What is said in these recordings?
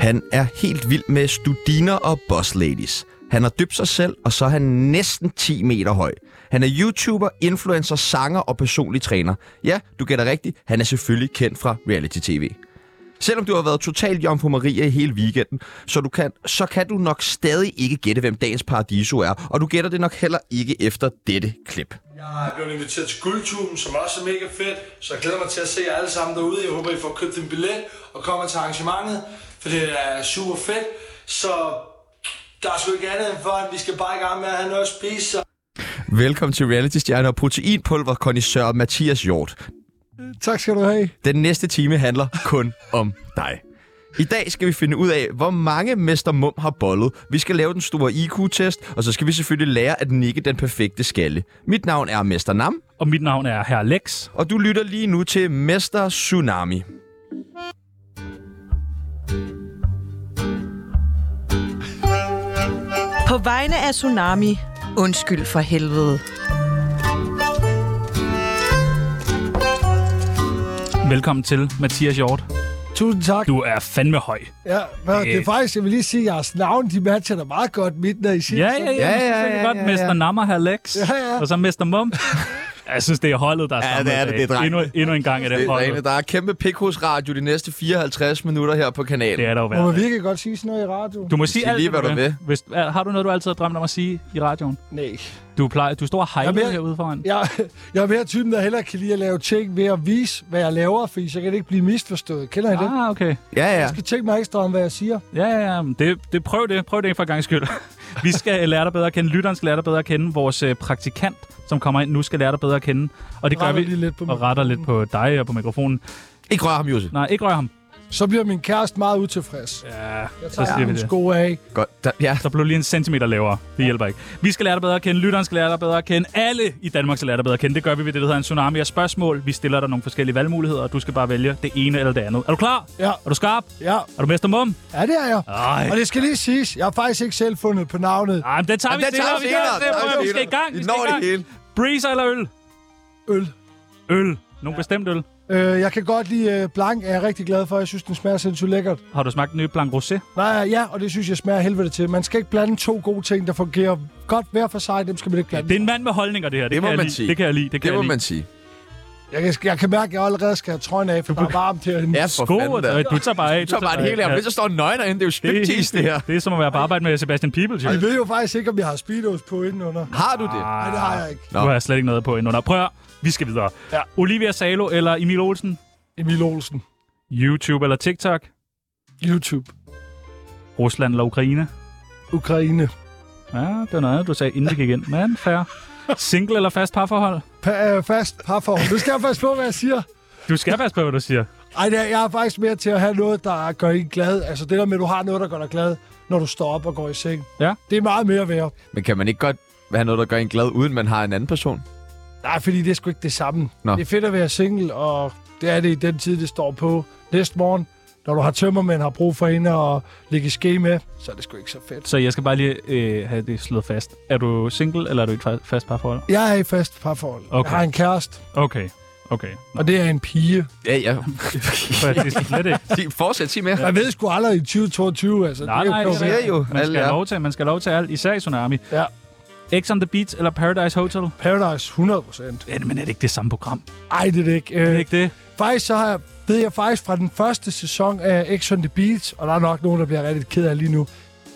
Han er helt vild med studiner og boss ladies. Han har dybt sig selv, og så er han næsten 10 meter høj. Han er YouTuber, influencer, sanger og personlig træner. Ja, du gætter rigtigt. Han er selvfølgelig kendt fra reality-tv. Selvom du har været totalt jomfru Maria i hele weekenden, så, du kan, så kan du nok stadig ikke gætte, hvem dagens paradiso er, og du gætter det nok heller ikke efter dette klip. Jeg er blevet inviteret til Guldtuben, som også er mega fedt, så jeg glæder mig til at se jer alle sammen derude. Jeg håber, I får købt en billet og kommer til arrangementet, for det er super fedt. Så der er sgu ikke andet end for, at vi skal bare i gang med at have noget at spise. Så Velkommen til reality-stjerne og proteinpulverkondisør Mathias Hjort. Tak skal du have. Den næste time handler kun om dig. I dag skal vi finde ud af, hvor mange Mester Mum har bollet. Vi skal lave den store IQ-test, og så skal vi selvfølgelig lære at nikke den perfekte skalle. Mit navn er Mester Nam, Og mit navn er Herr Lex. og du lytter lige nu til Mester Tsunami. På vegne af Tsunami, undskyld for helvede. Velkommen til, Mathias Hjort. Tusind tak. Du er fandme høj. Ja, men det er Øh. faktisk, jeg vil lige sige, at jeres navn, de matcher da meget godt midt, når I siger Ja, det ja, ja. sådan. ja, ja, ja, ja, godt. ja, Mester ja. Nammer, Herr Lex. Ja, ja. Og så Mester Mum. Jeg synes, det er holdet, der er Ja, samlet det er det. i dag. Det er drengen. endnu, endnu en gang er det, holdet. Der er kæmpe pikhus radio de næste 54 minutter her på kanalen. Det er der jo Må man værd. virkelig godt sige sådan noget i radio? Du må sige Sig alt, lige, hvad du vil. Hvis, er- har du noget, du altid har drømt om at sige i radioen? Nej. Du, plejer, du står og Jamen, hejler jeg- herude foran. Jeg, jeg er mere typen, der heller kan lide at lave ting ved at vise, hvad jeg laver, fordi så kan det ikke blive misforstået. Kender I det? Ah, okay. Ja, ja. Jeg skal tænke mig ekstra om, hvad jeg siger. Ja, ja, ja. men Det, det, prøv det. Prøv det for en gang skyld. Vi skal lære dig bedre at kende. Lytteren skal lære dig bedre at kende. Vores øh, praktikant, som kommer ind nu, skal lære dig bedre at kende. Og det gør Retter vi lige lidt på og retter lidt på dig og på mikrofonen. Ikke rør ham, Jussi. Nej, ikke rør ham. Så bliver min kæreste meget utilfreds. Ja, Ja, jeg så tager siger vi hans det. sko af. Godt. Der, ja. Der blev lige en centimeter lavere. Det hjælper ikke. Vi skal lære dig bedre at kende. Lytteren skal lære dig bedre at kende. Alle i Danmark skal lære dig bedre at kende. Det gør vi ved det, der hedder en tsunami af spørgsmål. Vi stiller dig nogle forskellige valgmuligheder, og du skal bare vælge det ene eller det andet. Er du klar? Ja, Er du skarp? ja. Er du mester mum? ja, det er jeg. Ej. Og det skal lige siges, jeg har faktisk ikke selv fundet på navnet Nej, men det tager Jamen, vi den tager vi Vi, gør senere. det. Den tager vi vi skal i senere. gang. Vi Vi skal når i det gang. hele. Breezer eller øl? øl. Øl. Nogle ja. bestemt øl. Øh, jeg kan godt lide øh, blank, er jeg rigtig glad for. Jeg synes, den smager sindssygt lækkert. Har du smagt den nye Blanc Rosé? Nej, ja, og det synes jeg smager af helvede til. Man skal ikke blande to gode ting, der fungerer godt hver for sig. Dem skal man ikke blande. Det er en mand med holdninger, det her. Det, Det må kan jeg man lide. sige. Det kan jeg lide. Det kan Det må jeg lide. man sige. Jeg kan, jeg kan mærke, at jeg allerede skal have trøjen af, for der er varmt herinde. Ja, Ja. for God, fanden da. du tager bare af. Så bare det hele her. Hvis der står nøgen derinde, det er jo striptease, det her. Det er som at være på arbejde med Sebastian Peebles. jo. Jeg ved jo faktisk ikke, om jeg har speedos på indenunder. Har du Ah. det? Nej, det har jeg ikke. Nå. Nu har jeg slet ikke noget på endnu. Nå, Prøv at høre. vi skal videre. Ja. Olivia Salo eller Emil Olsen? Emil Olsen. YouTube eller TikTok? YouTube. Rusland eller Ukraine? Ukraine. Ja, det var noget, andet, du sagde, inden vi gik ind. Men fair. Single eller fast parforhold? Pa- øh, fast parforhold. Nu skal jeg faktisk på, hvad jeg siger. Du skal passe på, hvad du siger. Ej, det er, jeg er faktisk mere til at have noget, der gør en glad. Altså det der med, at du har noget, der gør dig glad, når du står op og går i seng. Ja. Det er meget mere værd. Men kan man ikke godt have noget, der gør en glad, uden man har en anden person? Nej, fordi det er sgu ikke det samme. Nå. Det er fedt at være single, og det er det i den tid, det står på. Næste morgen, når du har tømmermænd, har brug for en at ligge i ske med, så er det sgu ikke så fedt. Så jeg skal bare lige øh, have det slået fast. Er du single, eller er du i et fa- fast parforhold? Jeg er i fast parforhold. Okay. Jeg har en kæreste, Okay. Okay. Nå, og det er en pige. Ja, ja. for jeg skal slet ikke. Sig- Fortsæt, sig mere. Jeg ved sgu aldrig i 2022, altså. Nej, det nej, er jo Du det klogt. siger jo, Man skal, alle have er. lov til, man skal have lov til alt, især i Tsunami. Ja. X on the Beach eller Paradise Hotel? Paradise 100 procent. Ja, men er det ikke det samme program? Ej, det er det ikke. Er det Øh, ikke det? faktisk så har jeg, ved jeg faktisk fra den første sæson af X on the Beach, og der er nok nogen, der bliver rigtig ked af lige nu.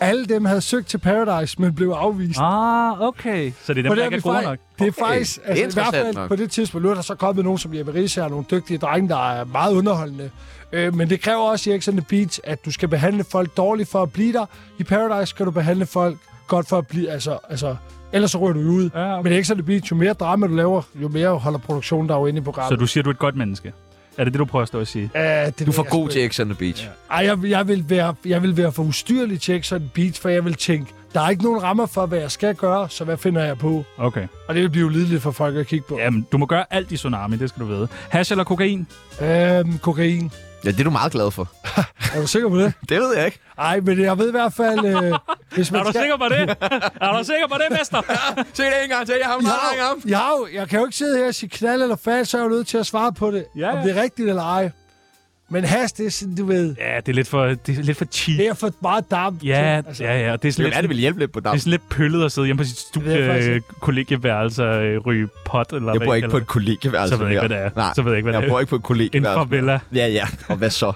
Alle dem havde søgt til Paradise, men blev afvist. Ah, okay. Så det er dem, På der det, ikke er vi gode fej- nok? det er Okay, faktisk, det er altså, i hvert interessant fald nok. på det tidspunkt, nu er der så kommet nogen som Jeppe Riese her, nogle dygtige drenge, der er meget underholdende. Øh, men det kræver også i X on the Beach, at du skal behandle folk dårligt for at blive der. I Paradise skal du behandle folk godt for at blive, altså, altså ellers så ryger du ud. Ja, okay. Men i X on the Beach, jo mere drama du laver, jo mere holder produktionen dig jo inde i programmet. Så du siger, du er et godt menneske? Er det det, du prøver at stå og sige? Æh, det Du ved får jeg god sgu til X on the Beach. Ej, jeg, jeg, vil være, jeg vil være for ustyrlig til Exxon Beach, for jeg vil tænke, der er ikke nogen rammer for, hvad jeg skal gøre, så hvad finder jeg på? Okay. Og det vil blive lideligt for folk at kigge på. Jamen, du må gøre alt i Tsunami, det skal du vide. Hash eller kokain? Øhm, kokain. Ja, det er du meget glad for. Er du sikker på det? Det ved jeg ikke. Nej, men jeg ved i hvert fald... Øh, hvis man Er du skal... sikker på det? er du sikker på det, mester? Se det en gang til. Jeg har Jeg har, jo- jeg, har, jo- jeg kan jo ikke sidde her og sige knald eller fat, så er jeg jo nødt til at svare på det. Ja, ja. Om det er rigtigt eller ej. Men has, det er sådan, du ved. ja, det er lidt for, det er lidt for cheap. Det er for meget damp. Ja, til, altså. ja, ja. og Det er sådan Det lidt, er det vil hjælpe lidt på det er damp. sådan lidt pøllet at sidde hjemme på sit Det er faktisk studie, øh, kollegieværelse og øh, ryge pot. Eller Jeg hvad bor ikke på kalder et kollegieværelse. Så ved jeg ikke, mere. hvad det er. Nej, Så ved jeg ikke, hvad det jeg er. bor ikke på et det. En kollegieværelse. favela. Ja, ja. Og hvad så?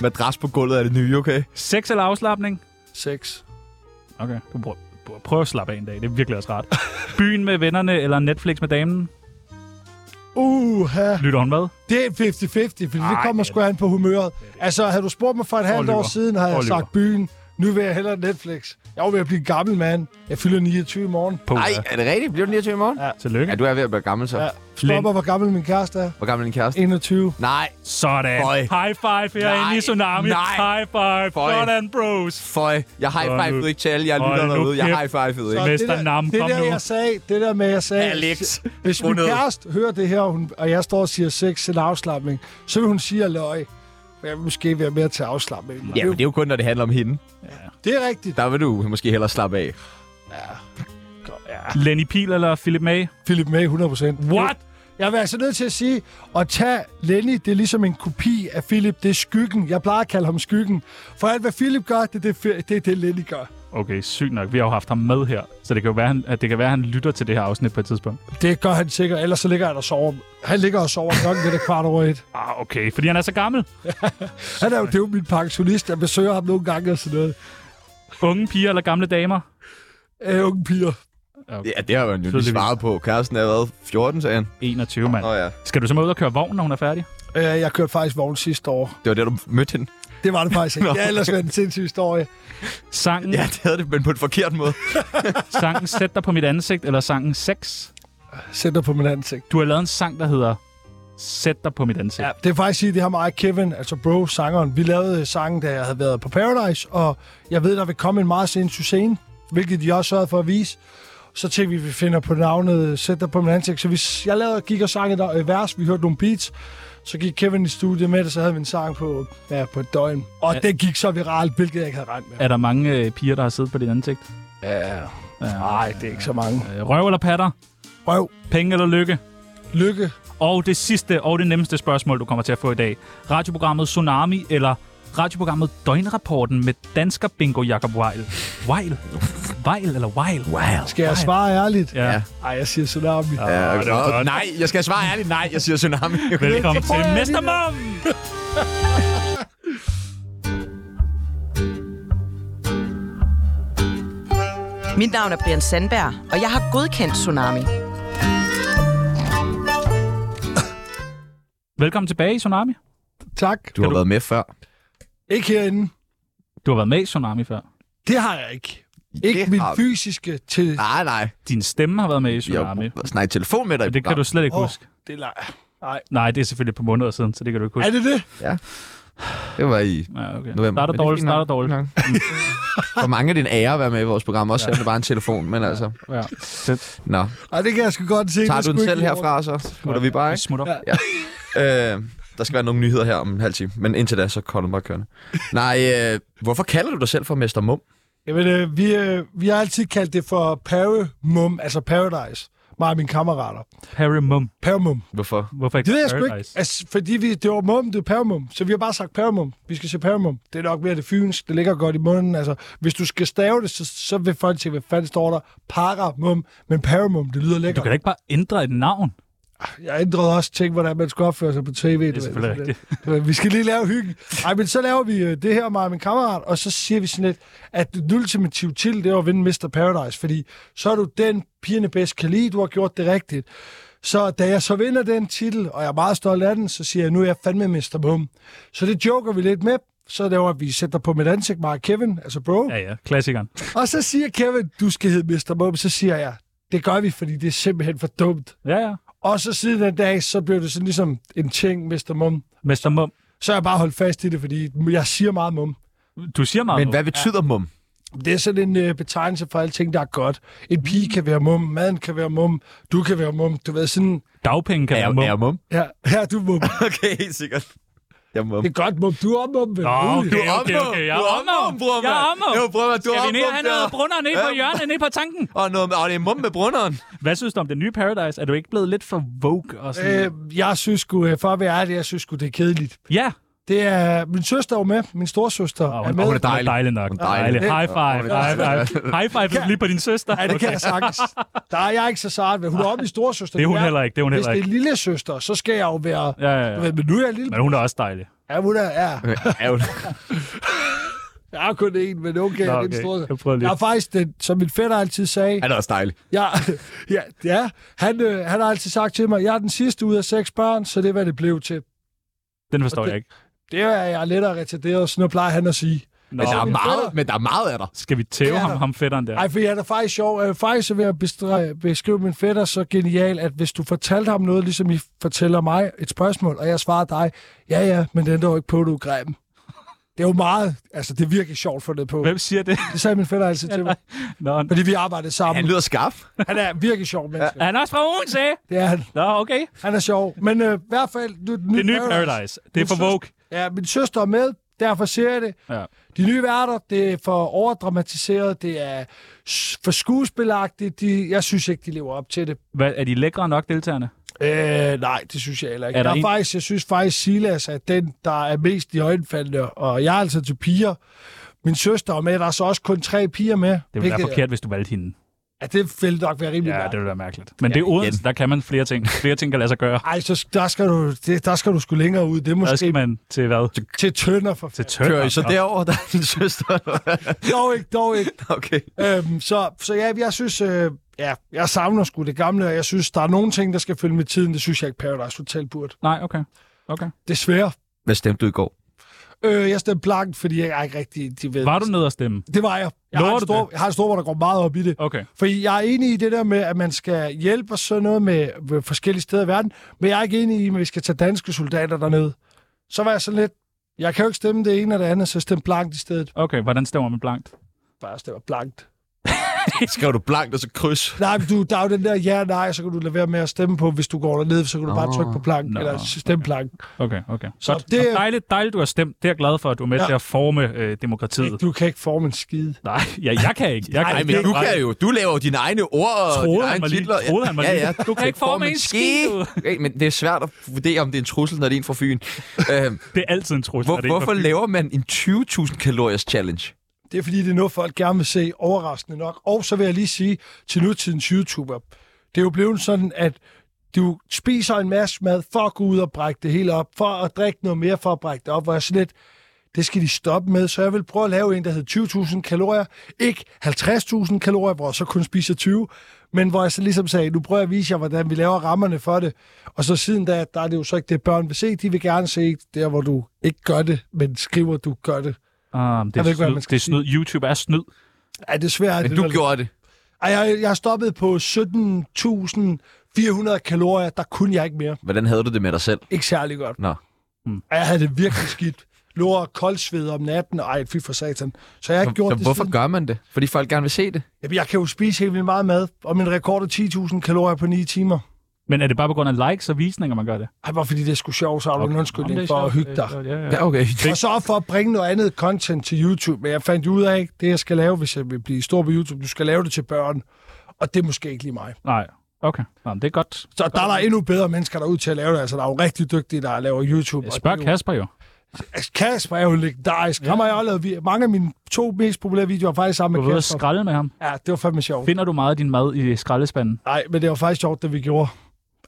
Madras på gulvet er det nye, okay? Sex eller afslappning? Sex. Okay. Du prøv, prøv, prøv at slappe af en dag. Det er virkelig også rart. Byen med vennerne eller Netflix med damen? Uha. Lytter hun hvad? Det er 50-50, fordi Ej, det Ej, kommer det- sgu an på humøret. Altså, havde du spurgt mig for et halvt lyver. år siden, havde Og jeg lyver. sagt byen. Nu vil jeg hellere Netflix. Jeg var ved at blive gammel, mand. Jeg fylder 29 i morgen. På, Nej, er det rigtigt? Bliver du 29 i morgen? Ja. Tillykke. Ja, du er ved at blive gammel, så. Ja. Lind. Stop hvor gammel min kæreste er. Hvor gammel er din kæreste? 21. Nej, Sådan. Føj. High five herinde i Nej. Tsunami. Nej. High five. Føj. Sådan, bros. føj. Jeg high-fivede nu- ikke til alle jer Hold lytter nu derude. Jeg kæft. high-fivede ikke. Og Mester det der, Nam, det kom der, nu. jeg sagde, det der med, jeg sagde... Alex, Hvis skru min ned. kæreste hører det her, og, hun, og jeg står og siger sex eller afslappning, så vil hun sige, at jeg løg. Men Jeg vil måske være mere til afslappning. Men Ja, men det er jo kun, når det handler om hende. Det er rigtigt. Der vil du måske hellere slappe af. Lenny Pil eller Philip May? Philip May, 100%. What? Jeg vil altså nødt til at sige, at tage Lenny, det er ligesom en kopi af Philip. Det er skyggen. Jeg plejer at kalde ham skyggen. For alt, hvad Philip gør, det er det, Fi- det, er det Lenny gør. Okay, sygt nok. Vi har jo haft ham med her, så det kan jo være, han- at det kan være, at han lytter til det her afsnit på et tidspunkt. Det gør han sikkert, ellers så ligger han og sover. Han ligger og sover klokken lidt af kvart over et. Ah, okay. Fordi han er så gammel. Han er jo, det er jo min pensionist, jeg besøger ham nogle gange og sådan noget. Unge piger eller gamle damer? Æ, Øh, unge piger. Ja, det har man jo lige Tydeligvis. svaret på. Kæresten er været 14, sagde han. 21, mand. Nå ja, Skal du så med ud og køre vogn, når hun er færdig? Øh, jeg kørte faktisk vogn sidste år. det var det, du mødte hende. Det var det faktisk ikke. Ja, ellers var det en sindssyg historie. Sangen, Ja, det havde det, men på en forkert måde. sangen Sæt dig på mit ansigt, eller sangen Sex. Sæt dig på min ansigt. Du har lavet en sang, der hedder Sæt dig på mit ansigt. Ja, det er faktisk sige, det har mig og Kevin, altså bro, sangeren. Vi lavede øh, sangen, da jeg havde været på Paradise, og jeg ved, der vil komme en meget sindssyg scene, hvilket de også sørgede for at vise. Så tænkte vi, vi finder på navnet Sæt dig på min ansigt. Så vi, jeg lavede, gik og sang et øh, vers, vi hørte nogle beats, så gik Kevin i studiet med det, så havde vi en sang på, ja, på et døgn. Og ja. det gik så viralt, hvilket jeg ikke havde regnet med. Er der mange øh, piger, der har siddet på dit ansigt? Ja. Nej, det er ikke så mange. Øh, Røv eller patter? Røv, Penge eller lykke? lykke, Og det sidste og det nemmeste spørgsmål, du kommer til at få i dag. Radioprogrammet Tsunami eller radioprogrammet Døgnrapporten med dansker Bingo Jakob Weil? Weil? Weil eller Weil? Wow. Skal jeg svare ærligt? Ja. ja. Ja. Ej, jeg siger tsunami. Ja. Ja, det var nå, godt. nej, jeg skal svare ærligt nej. Jeg siger tsunami. Velkommen Så prøver til jeg lige Mester det. Mom! Mit navn er Brian Sandberg, og jeg har godkendt Tsunami. Velkommen tilbage i Tsunami. Tak. Du har været med før. Ikke herinde. Du har været med i Tsunami før. Det har jeg ikke. Ikke Det min har vi. Ah, fysiske til... Nej, nej. Din stemme har været med i Jeg Tsunami. har snakket i telefon med dig. i Men det kan du programmet. slet ikke Åh, huske. det er lej. Nej. Nej, det er selvfølgelig på måneder siden, så det kan du ikke Er huske. det det? Det var i Ja, okay. november. Starter Men det er dårligt, fint nok. starter dårligt. Fint nok. Mm. For mange af din ære at være med i vores program, også selvom det bare er en telefon, men altså... Ja. Nå, Nej, det kan jeg sgu godt se. tager Det du er den sgu selv ikke i orden. herfra, så smutter vi bare, Vi ikke? smutter. Ja. Øh, der skal være nogle nyheder her om en halv time, men indtil da, så kolder bare kørende. Nej, øh, hvorfor kalder du dig selv for Mester Mum? Jamen, øh, vi, øh, vi har altid kaldt det for Paramum, altså Paradise. Mig og mine kammerater. Harry Mum. Paramum. Hvorfor? Hvorfor ikke Det ved jeg sgu ikke. Paradise? Altså, fordi vi, det var mum, det er Paramum. Så vi har bare sagt Paramum. Vi skal se Paramum. Det er nok mere det fynsk. Det ligger godt i munden. Altså, hvis du skal stave det, så, så vil folk tænke, hvad fanden står der? Paramum. Men Paramum, det lyder Du lækkert. kan da ikke bare ændre et navn. Jeg ændrede også ting, hvordan man skulle opføre sig på tv. Det er selvfølgelig rigtigt. Vi skal lige lave hyggen. Ej, men så laver vi øh, det her med min kammerat, og så siger vi sådan lidt, at den ultimative til, det er at vinde Mr. Paradise, fordi så er du den, pigerne bedst kan lide, du har gjort det rigtigt. Så da jeg så vinder den titel, og jeg er meget stolt af den, så siger jeg, nu er jeg fandme Mr. Bum. Så det joker vi lidt med. Så laver vi, sætter på mit ansigt, mig og Kevin, altså bro. Ja, ja. Klassikeren. Og så siger Kevin, du skal hedde Mr. Bum. Så siger jeg, det gør vi, fordi det er simpelthen for dumt. Ja, ja. Og så siden den dag, så blev det sådan ligesom en ting, Mr. Mum. Mester Mum. Så har jeg bare holdt fast i det, fordi jeg siger meget mum. Du siger meget Men Mum. hvad betyder Mum? Det er sådan en øh, betegnelse for alting, der er godt. En pige kan være mum, maden kan være mum, du kan være mum. Du ved sådan, Dagpenge kan være Mum. Mum? ja, her er du mum. Okay, helt sikkert. Jeg må... Det er godt, må du op om det. Nå, Du okay, er okay, omvendt. okay. Jeg Du er er omvendt, omvendt, bror, Jeg er mand. omvendt. Jo, bror, mand, du er Skal vi ned og have omvendt, noget ja. brunner ned på Ja. hjørnet, ned på tanken? Og, noget, og det er mum med brunderen. Hvad synes du om det nye Paradise? Er du ikke blevet lidt for vogue? Og sådan? Øh, Øh, jeg synes sgu, øh, for at være ærlig, jeg synes sgu, det er kedeligt. ja, Det er, min søster er jo med, min storsøster Åh, er hun- med. hun er det er Dejlig. dejligt nok. Hun er Dejligt. dejlig. High five. Hun er High five. High five lige på din søster. Ja, det kan jeg sagtens. Der er jeg ikke så sart ved. Hun er oppe i storsøster. Det er hun nu heller ikke, det er hun Hvis heller det er lille søster, så skal jeg jo være... Ja, ja, Du ja. ved, men nu er jeg lille. Men hun er også dejlig. Ja, hun er... Ja. Ærgerligt. Jeg har kun én, men okay. Nå, Nå, okay. okay. Store. Jeg prøver lige. Jeg er faktisk den, som min fætter altid sagde. Han er også dejlig. Ja, ja, ja han, øh, han har altid sagt til mig, jeg er den sidste ud af seks børn, så det er, hvad det blev til. Den forstår jeg ikke. Det er jeg lettere retarderet, sådan noget plejer han at sige. Nå, Men der, er min meget, fætter. men der er meget af dig. skal vi tæve Ja, ham, der- ham fætteren der? Ej, for han er faktisk sjov. Øh, faktisk vil jeg bestre- beskrive min fætter så genial, at hvis du fortalte ham noget, ligesom I fortæller mig et spørgsmål, og jeg svarer dig, ja ja, men den der jo ikke på, du er grim. Det er jo meget, altså det er virkelig sjovt for det på. Hvem siger det? Det sagde min fætter altid til mig, Nå, fordi vi arbejdede Han sammen. lyder skarp. Han er en virkelig sjov menneske. er han også fra Odense? Det er han. Nå, okay. Han er sjov. Men øh, i hvert fald... Nu, er den Det nye Paradise. Det er Min for Vogue. søster- Ja, min søster er med, derfor ser jeg det. Ja. De nye værter, det er for overdramatiseret, det er s- for skuespilagtigt. De, jeg synes ikke, de lever op til det. Hvad, er de lækre nok, deltagerne? Øh, nej, det synes jeg heller ikke. Er Er der der en- er faktisk, jeg synes faktisk, Silas er den, der er mest i øjenfaldene, og jeg er altså til piger. Min søster er med, der er så også kun tre piger med. Det ville være forkert, hvis du valgte hende. Ja, det ville nok være rimelig Ja, ja, det ville være mærkeligt. Men det er Odense, igen. der kan man flere ting. Flere ting kan lade sig gøre. Ej, så sk- der skal, du, det, der skal du sgu længere ud. Det er Der måske skal man til hvad? til tønder for Til fanden. tønder. Kører I så derover der er din søster? Dog ikke, dog ikke. okay. øhm, så, så ja, jeg synes, øh, ja, jeg savner sgu det gamle, og jeg synes, der er nogle ting, der skal følge med tiden. Det synes jeg ikke, Paradise Hotel burde. Nej, okay. Okay. Desværre. Hvad stemte du i går? Øh, jeg stemte blankt, fordi jeg er ikke rigtig... De ved. Var du nede og stemme? Det var jeg. Jeg har, Lover en du stor, det? jeg har en stor, hvor der går meget op i det. Okay. Fordi jeg er enig i det der med, at man skal hjælpe og sådan noget med, med forskellige steder i verden, men jeg er ikke enig i, at vi skal tage danske soldater derned. Så var jeg sådan lidt, jeg kan jo ikke stemme det ene eller det andet, så jeg stemte blankt i stedet. Okay, hvordan stemmer man blankt? Bare stemmer blankt. Skrev du blankt og så kryds? Nej, men du, der er jo den der ja nej, så kan du lade være med at stemme på, hvis du går derned, så kan du bare trykke på planken, nå, no, eller stemme planken. Okay, okay. Så Godt. det- Nå, Dejligt, dejligt, du har stemt. Det er jeg glad for, at du er med ja. Ja. til at forme øh, demokratiet. Du kan ikke forme en skide. Nej, ja, jeg kan ikke. Jeg kan Nej, ikke. men Jeg- du kan jo. Du laver jo dine egne ord og Troede dine han egne mig lige. titler. Troede han mig ja, lige. ja. Du kan ikke forme en skid, du. Okay, men det er svært at vurdere, om det er en trussel, når det er en fra Fyn. øhm, Det er altid en trussel. hvor, er det ikke hvorfor for- laver man en 20.000 kaloriers challenge? Det er fordi, det er noget, folk gerne vil se overraskende nok. Og så vil jeg lige sige til nutidens YouTuber, det er jo blevet sådan, at du spiser en masse mad for at gå ud og brække det hele op, for at drikke noget mere for at brække det op, hvor jeg sådan lidt, det skal de stoppe med, så jeg vil prøve at lave en, der hedder 20.000 kalorier, ikke 50.000 kalorier, hvor jeg så kun spiser 20, men hvor jeg så ligesom sagde, nu prøver jeg at vise jer, hvordan vi laver rammerne for det. Og så siden da, der er det jo så ikke det, børn vil se, de vil gerne se der, hvor du ikke gør det, men skriver, du gør det. Ah, men det, Jeg er ved ikke, hvad snyd, man skal det er snyd. YouTube er snyd. Ej, desværre, er Men det du vel- gjorde det. Ej, jeg, jeg stoppede på 17.400 kalorier. Der kunne jeg ikke mere. Hvordan havde du det med dig selv? Ikke særlig godt. Nå. Og jeg havde det virkelig skidt. Lå og koldsved om natten. Ej, fy for satan. Så jeg har ikke gjort Så det hvorfor siden. gør man det? Fordi folk gerne vil se det. Jamen, jeg kan jo spise helt vildt meget mad. Og min rekord er 10.000 kalorier på 9 timer. Men er det bare på grund af likes og visninger, man gør det? Ej, bare fordi det skulle sjovt, så har du en Jamen, det er undskyldning for at sjovt. hygge dig. Øh, Ja, ja. Ja, okay. Og så for at bringe noget andet content til YouTube. Men jeg fandt ud af, det jeg skal lave, hvis jeg vil blive stor på YouTube, du skal lave det til børn. Og det er måske ikke lige mig. Nej, okay. Nå, men det er godt. Så der er der endnu bedre mennesker derude til at lave det. Altså, der er jo rigtig dygtige, der laver YouTube. og Spørg det er jo- Kasper jo. Altså, Kasper er jo legendarisk. Ja. Ham har jeg også lavet vi- mange af mine to mest populære videoer var faktisk sammen Du med ved at Kasper. skralde med ham. Ja, det var fandme sjovt. Finder du meget af din mad i skraldespanden? Nej, men det var faktisk sjovt, det vi gjorde.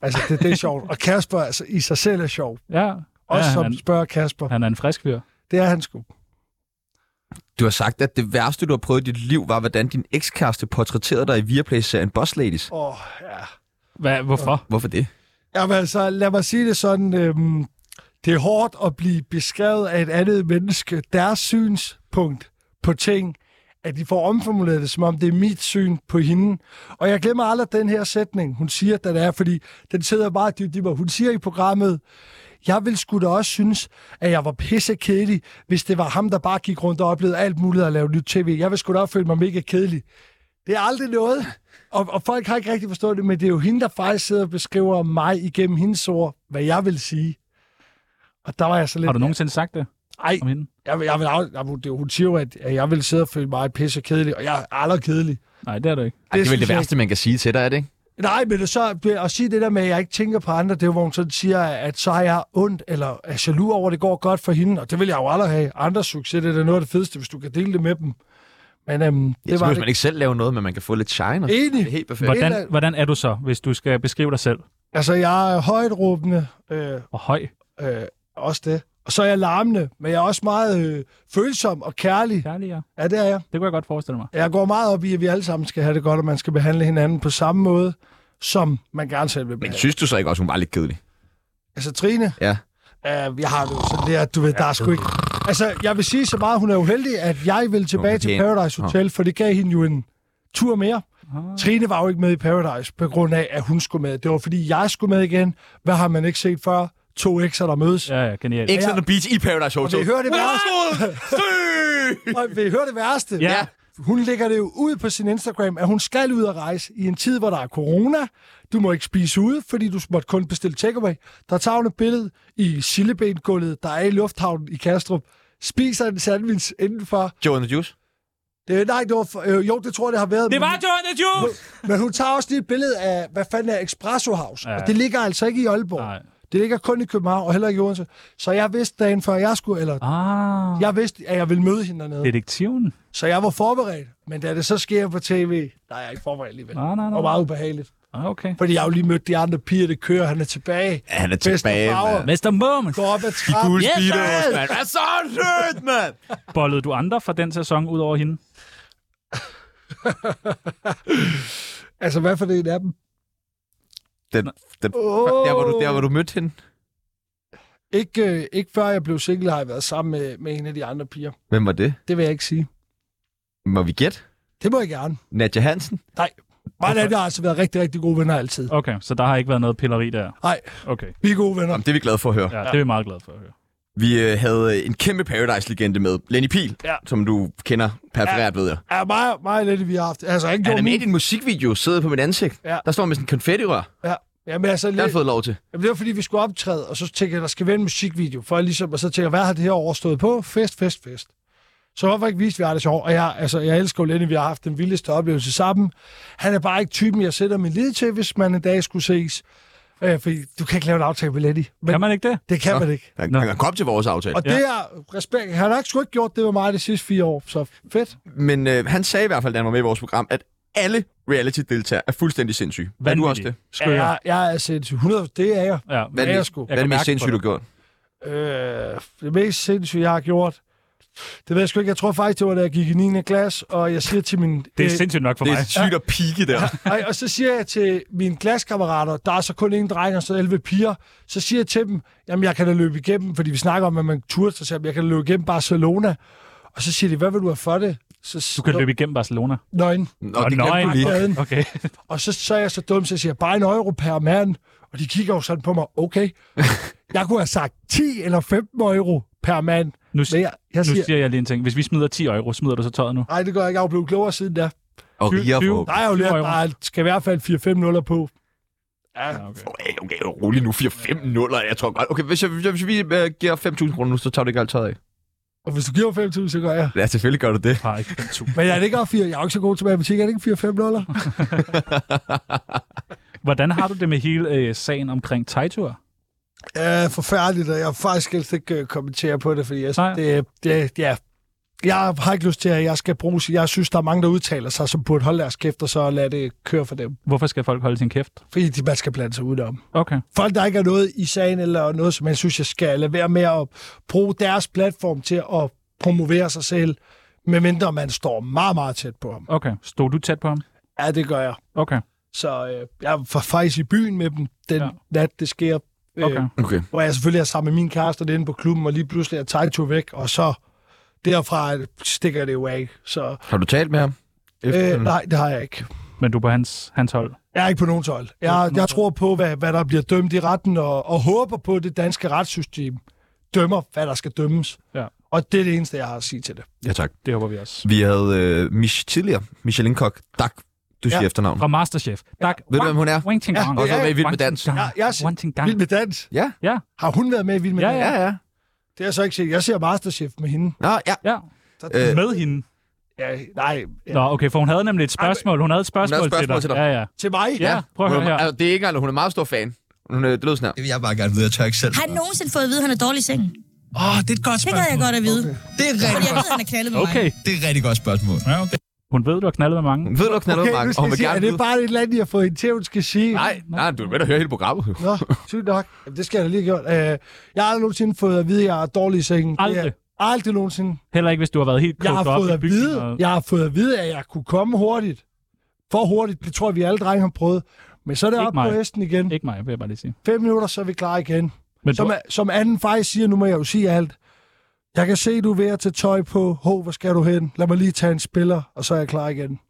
Altså, det, det er sjovt. Og Kasper altså, i sig selv er sjov. Ja. Også ja, ja, som han, er- spørger Kasper. Ja. han er en frisk fyr. Det er han sgu. Du har sagt, at det værste, du har prøvet i dit liv, var, hvordan din ekskæreste portrætterede dig i Viaplay-serien Boss Ladies. Åh, oh, ja. Hvad, hvorfor? Hvorfor det? Jamen altså, lad mig sige det sådan. Øhm, det er hårdt at blive beskrevet af et andet menneske. Deres synspunkt på ting, at de får omformuleret det, som om det er mit syn på hende. Og jeg glemmer aldrig den her sætning, hun siger, den er, fordi den sidder meget dybt i mig. Hun siger i programmet, jeg ville sgu da også synes, at jeg var pisse kedelig, hvis det var ham, der bare gik rundt og oplevede alt muligt at lave nyt tv. Jeg ville sgu da også føle mig mega kedelig. Det er aldrig noget. Og, og folk har ikke rigtig forstået det, men det er jo hende, der faktisk sidder og beskriver mig igennem hendes ord, hvad jeg vil sige. Og der var jeg så lidt... Har du nogensinde sagt det Ej, om hende? jeg, vil- jeg, vil, af- jeg, vil, det- hun siger jo, at at jeg vil sidde og føle mig pisse kedelig, og jeg er aldrig kedelig. Nej, det er du ikke. Ej, det er vel synes det jeg værste, man kan sige til dig, er det ikke? Nej, men det så at sige det der med, at jeg ikke tænker på andre, det er jo, hvor hun sådan siger, at så har jeg ondt, eller er jaloux over, at det går godt for hende, og det vil jeg jo aldrig have. Andres succes, det er da noget af det fedeste, hvis du kan dele det med dem. Men øhm, det Ja, så var behøver det. man ikke selv lave noget, men man kan få lidt shine. og- Enig. Det er helt perfekt. Hvor- Hvordan, Eller- hvordan er du så, hvis du skal beskrive dig selv? Altså, jeg er højt råbende, øh, Og høj. øh, også det. Og så er jeg larmende, men jeg er også meget øh, følsom og kærlig. Kærligere. Ja, det er jeg. Det kunne jeg godt forestille mig. Jeg går meget op i, at vi alle sammen skal have det godt, og man skal behandle hinanden på samme måde, som man gerne selv vil Men behandle. synes du så ikke også, hun var lidt kedelig? Altså Trine, Ja. øh, jeg har det jo sådan der, du ved, der er sgu ikke... Altså, jeg vil sige så meget, hun er uheldig, at jeg vil tilbage Hun til fortjener- Paradise Hotel, for det gav hende jo en tur mere. Trine var jo ikke med i Paradise, på grund af, at hun skulle med. Det var, fordi jeg skulle med igen. Hvad har man ikke set før? To ekser, der mødes. Ja. Ja, ja, genialt. Ikke sådan beach i Paradise Hotel. Vi hører det værste. Sø! Og vi hører det værste. Ja. Hun lægger det jo ud på sin Instagram, at hun skal ud og rejse i en tid, hvor der er corona. Du må ikke spise ude, fordi du måtte kun bestille takeaway. Der tager hun et billede i Sillebengulvet, der er i lufthavnen i Kastrup. Spiser en sandwich indenfor. Joe and the Juice. Det, nej, det var for, øh, jo, det tror jeg, det har været. Det var men, Jordan Juice! men hun tager også lige et billede af, hvad fanden er Espresso House? Ja. Ja. Og det ligger altså ikke i Aalborg. Nej. Det ligger kun i København og heller ikke i Odense. Så jeg vidste dagen før, jeg skulle, eller Ah, jeg vidste, at jeg ville møde hende dernede. detektiven. Så jeg var forberedt, men da det så sker på tv, der er jeg ikke forberedt alligevel. Nej, nej, nej. Og meget ubehageligt. Ah, okay. Fordi jeg har jo lige mødt de andre piger, det kører, han er tilbage. Ja, han er Bedste tilbage, farver. mand. Mester Moment. Går op ad trappen. Yes, Speedos, mand. Hvad så sødt, mand? Bollede du andre fra den sæson ud over hende? Altså, hvad for det af dem? Den, den, der, hvor du, der, hvor du mødte hende. Ikke, øh, ikke før jeg blev single, har jeg været sammen med, med en af de andre piger. Hvem var det? Det vil jeg ikke sige. Må vi gætte? Det må jeg gerne. Nadja Hansen? Nej. Mig og Nadia har altså været rigtig, rigtig gode venner altid. Okay, så der har ikke været noget pilleri der. Nej, Okay, vi er gode venner. Jamen, det er vi glade for at høre. ja, det er vi meget glade for at høre. Vi øh, havde øh, en kæmpe Paradise-legende med. Lenny Pil, ja. som du kender perforeret, ja. ved jeg. Ja, mig, mig og Lette, vi har haft. Altså, ikke Han er gjort med i min- din musikvideo, sidder på mit ansigt. Ja. Der står han med sådan en konfettirør. Ja. Jamen, altså, Det har lidt, jeg fået lov til. Jamen, det var fordi, vi skulle optræde, og så tænkte jeg, der skal være en musikvideo, for ligesom, og så tænkte jeg, hvad har det her år stået på? Fest, fest, fest. Så hvorfor ikke vise, vi har det sjovt? Og jeg, altså, jeg elsker jo Lenny, vi har haft den vildeste oplevelse sammen. Han er bare ikke typen, jeg sætter min lid til, hvis man en dag skulle ses. Øh, fordi du kan ikke lave en aftale med Lenny. Men Kan man ikke det? Det kan man ikke. Han, Nå. han kan komme til vores aftale. Og Ja. ja. det er respekt. Han har ikke sgu ikke gjort det med mig de sidste fire år, så fedt. Men øh, han sagde i hvert fald, da han var med i vores program, at alle reality-deltagere er fuldstændig sindssyge. Hvad du også det? Ja, Skøjer. jeg, jeg er sindssyg. 100, det er jeg. Ja, Hvad er Ja, det, jeg hvad sgu. er det Jeg kan mest mærke sindssyge, på du har gjort? Øh, det mest sindssyge, jeg har gjort, det ved jeg sgu ikke. Jeg tror faktisk, det var, da jeg gik i 9. klasse, og jeg siger til min... det er øh, sindssygt nok for Det mig. er sygt at pike der. Ej, og så siger jeg til mine klassekammerater, der er så kun én dreng og så 11 piger, så siger jeg til dem, jamen jeg kan da løbe igennem, fordi vi snakker om, at man turde sig selv, jeg kan da løbe igennem Barcelona. Og så siger de, hvad vil du have for det? Så, Du kan løbe igennem Barcelona. Nøgen. Nå, Og det glemte nøgen. du lige. Okay. okay. Og så, så er jeg så dum, så jeg siger, bare en euro per mand. Og de kigger jo sådan på mig, okay. Jeg kunne have sagt 10 eller 15 euro per mand. Nu, Men jeg, jeg nu siger, siger jeg lige en ting. Hvis vi smider 10 euro, smider du så tøjet nu? nej, det gør jeg ikke. Jeg er jo blevet klogere siden da. Og riger Tyve- for... Der er jo lært, euro. der er- skal i hvert fald 4-5 nuller på. Okay, okay, rolig nu. 4-5 nuller, jeg tror godt. Okay, hvis, jeg, hvis vi øh, giver 5.000 kroner nu, så tager du ikke alt tøjet af. Og hvis du giver mig 5.000, så gør jeg. Ja, selvfølgelig gør du det. Har ikke 5.000. Men jeg er ikke 4, jeg er jo ikke så god til matematik, jeg er det ikke 4-5 nuller. Hvordan har du det med hele øh, sagen omkring Tejtur? Ja, forfærdeligt, og jeg vil faktisk helst ikke øh, kommentere på det, fordi jeg, Nej. det, øh, det, ja. jeg har ikke lyst til, at jeg skal bruge... Jeg synes, der er mange, der udtaler sig, som burde holde deres kæft, og så lade det køre for dem. Hvorfor skal folk holde sin kæft? Fordi de, man skal blande sig udenom. Okay. Folk, der ikke er noget i sagen, eller noget, som jeg synes, jeg skal lade være med at bruge deres platform til at promovere sig selv, medmindre man står meget, meget tæt på ham. Okay. Stod du tæt på ham? Ja, det gør jeg. Okay. Så øh, jeg var faktisk i byen med dem den Ja. ja. nat, det sker. Øh, Okay. Okay. hvor jeg selvfølgelig er sammen med min kæreste derinde på klubben, og lige pludselig er Taito væk, og så derfra stikker det jo af. Så, Har du talt med ham? øh, Efterfølgende? nej, det har jeg ikke. Men du er på hans, hans hold? Jeg er ikke på nogen tøjl. Jeg, jeg tror på, hvad, hvad der bliver dømt i retten, og, og håber på, at det danske retssystem dømmer, hvad der skal dømmes. Ja. Ah, Og det er det eneste, jeg har at sige til det. Ja, tak. Det håber vi også. Vi havde øh, Mich tidligere, Michelin Kok, der du siger Ja. efternavn. Fra Masterchef. Tak. Ved du, hvem hun er? Wang Ting Gang. Og så med i Vild med Dans. Ja, jeg ser- Wang Ting Gang. Vild med dans. Ja, Har hun været med i Vild med Ja, dans? ja, ja. Det har jeg så ikke set. Jeg ser Masterchef med hende. Nå, ja. Ja. Øh, Med hende. Ja, nej, ja. Nå, okay, for hun havde nemlig et spørgsmål. Hun havde et spørgsmål, spørgsmål til dig. Ja, ja. til mig. Ja, prøv at hun høre er, her. altså, det er ikke engang, hun er meget stor fan. Hun, øh, det lød sådan her. Det vil jeg bare gerne vide, jeg tør ikke selv. Har han nogensinde fået at vide, at han er dårlig i sengen? Åh, oh, det er et godt Det gad jeg spørgsmål. godt at vide. Det er et rigtig, Fordi jeg ved, at han er knaldet med mig. Okay. det er et rigtig godt spørgsmål. Ja, okay. Hun ved, du har knaldet med mange. Hun ved, du har knaldet Okay, okay, nu Mark, og skal hun jeg vil sige, er gerne det vide. bare et eller andet, I har fået hende til, hun skal sige? Nej, nej, du er med at høre hele programmet. jo. Nå, sygt nok. Jamen, det skal jeg da lige gøre. Øh, jeg har aldrig nogensinde fået at vide, at jeg er dårlig i sengen. Det er- Aldrig. Aldrig nogensinde. Heller ikke, hvis du har været helt Jeg har, kogt op fået i at byen vide, og- jeg har fået at vide, at jeg kunne komme hurtigt. For hurtigt, det tror jeg, vi alle drenge har prøvet. Men så er det Ikke op mig. på hesten igen. Ikke mig, vil jeg bare lige sige. Fem minutter, så er vi klar igen. Men du, Som, er- som anden faktisk siger, nu må jeg jo sige alt. Jeg kan se, du er ved at tage tøj på. Hov, hvor skal du hen? Lad mig lige tage en spiller, og så er jeg klar igen.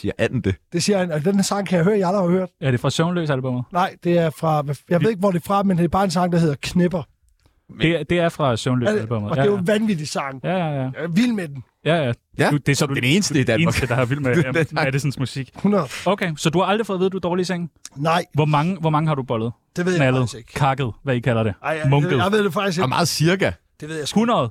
Siger anden det. Det siger han, og den her sang kan jeg høre, jeg aldrig har hørt. er det fra Søvnløs albumet? Nej, det er fra, jeg ved ikke, hvor det er fra, men det er bare en sang, der hedder Knipper. Det, er- det er fra Søvnløs Er det- albumet. Og det Ja, er jo ja. en vanvittig sang. Ja, ja, ja. Jeg er vild med den. ja, ja. Ja, Du, det er så du Den eneste i Danmark. eneste, der har vild med Det- det- um, Madisons musik. 100. Okay, så du har aldrig fået at vide, at du er dårlig i sengen? Nej, Hvor mange, hvor mange har du bollet? det ved jeg Knaldet, faktisk ikke. kakket, hvad I kalder det. Ej, jeg, Munket. jeg ved det faktisk Og ikke. meget cirka. Det ved jeg sgu, 100?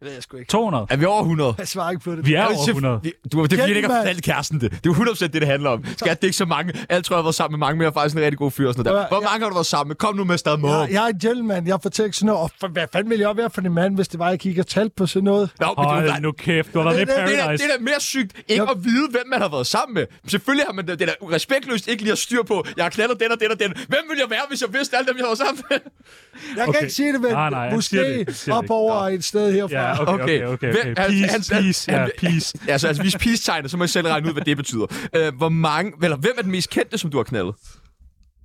det ved jeg sgu ikke. 200? Er vi over 100? Jeg svarer ikke på det. Vi er Jeg vil over sige, 100. vi- Du, det er fordi, jeg ikke har Gentleman. fortalt kæresten det. Det er jo 100% det, det handler om. Skat, det er ikke så mange. Alt tror jeg, jeg har været sammen med mange, men jeg er faktisk en rigtig god fyr. og Sådan noget der. Ja, Hvor ja. mange har du været sammen med? Kom nu med stadig mål. Jeg, jeg er en gentleman. Jeg får tænkt sådan noget. Og for, hvad fanden ville jeg være for en mand, hvis det var, jeg gik og talte på sådan noget? Nå, men det er jo Hold nu kæft, du har været med i Det- det- det er, da- Paradise. det er da mere sygt ikke Jeg- at vide, hvem man har været sammen med. Selvfølgelig har man det, det er da respektløst ikke lige at styr på, jeg har knaldet den og den og den. Hvem ville jeg være, hvis jeg vidste alt, dem jeg har været sammen med? Jeg okay. Okay. kan ikke sige det, men Nej, nej, han siger det måske ikke. Han siger det op ikke. over et sted herfra. Ja, okay, okay, okay. okay. Hvem- han- Peace, han- peace, han- ja, peace. Ja, altså, altså hvis peace-tegnet, så må jeg selv regne ud, hvad det betyder. Øh, hvor mange, eller hvem er den mest kendte, som du har knaldet?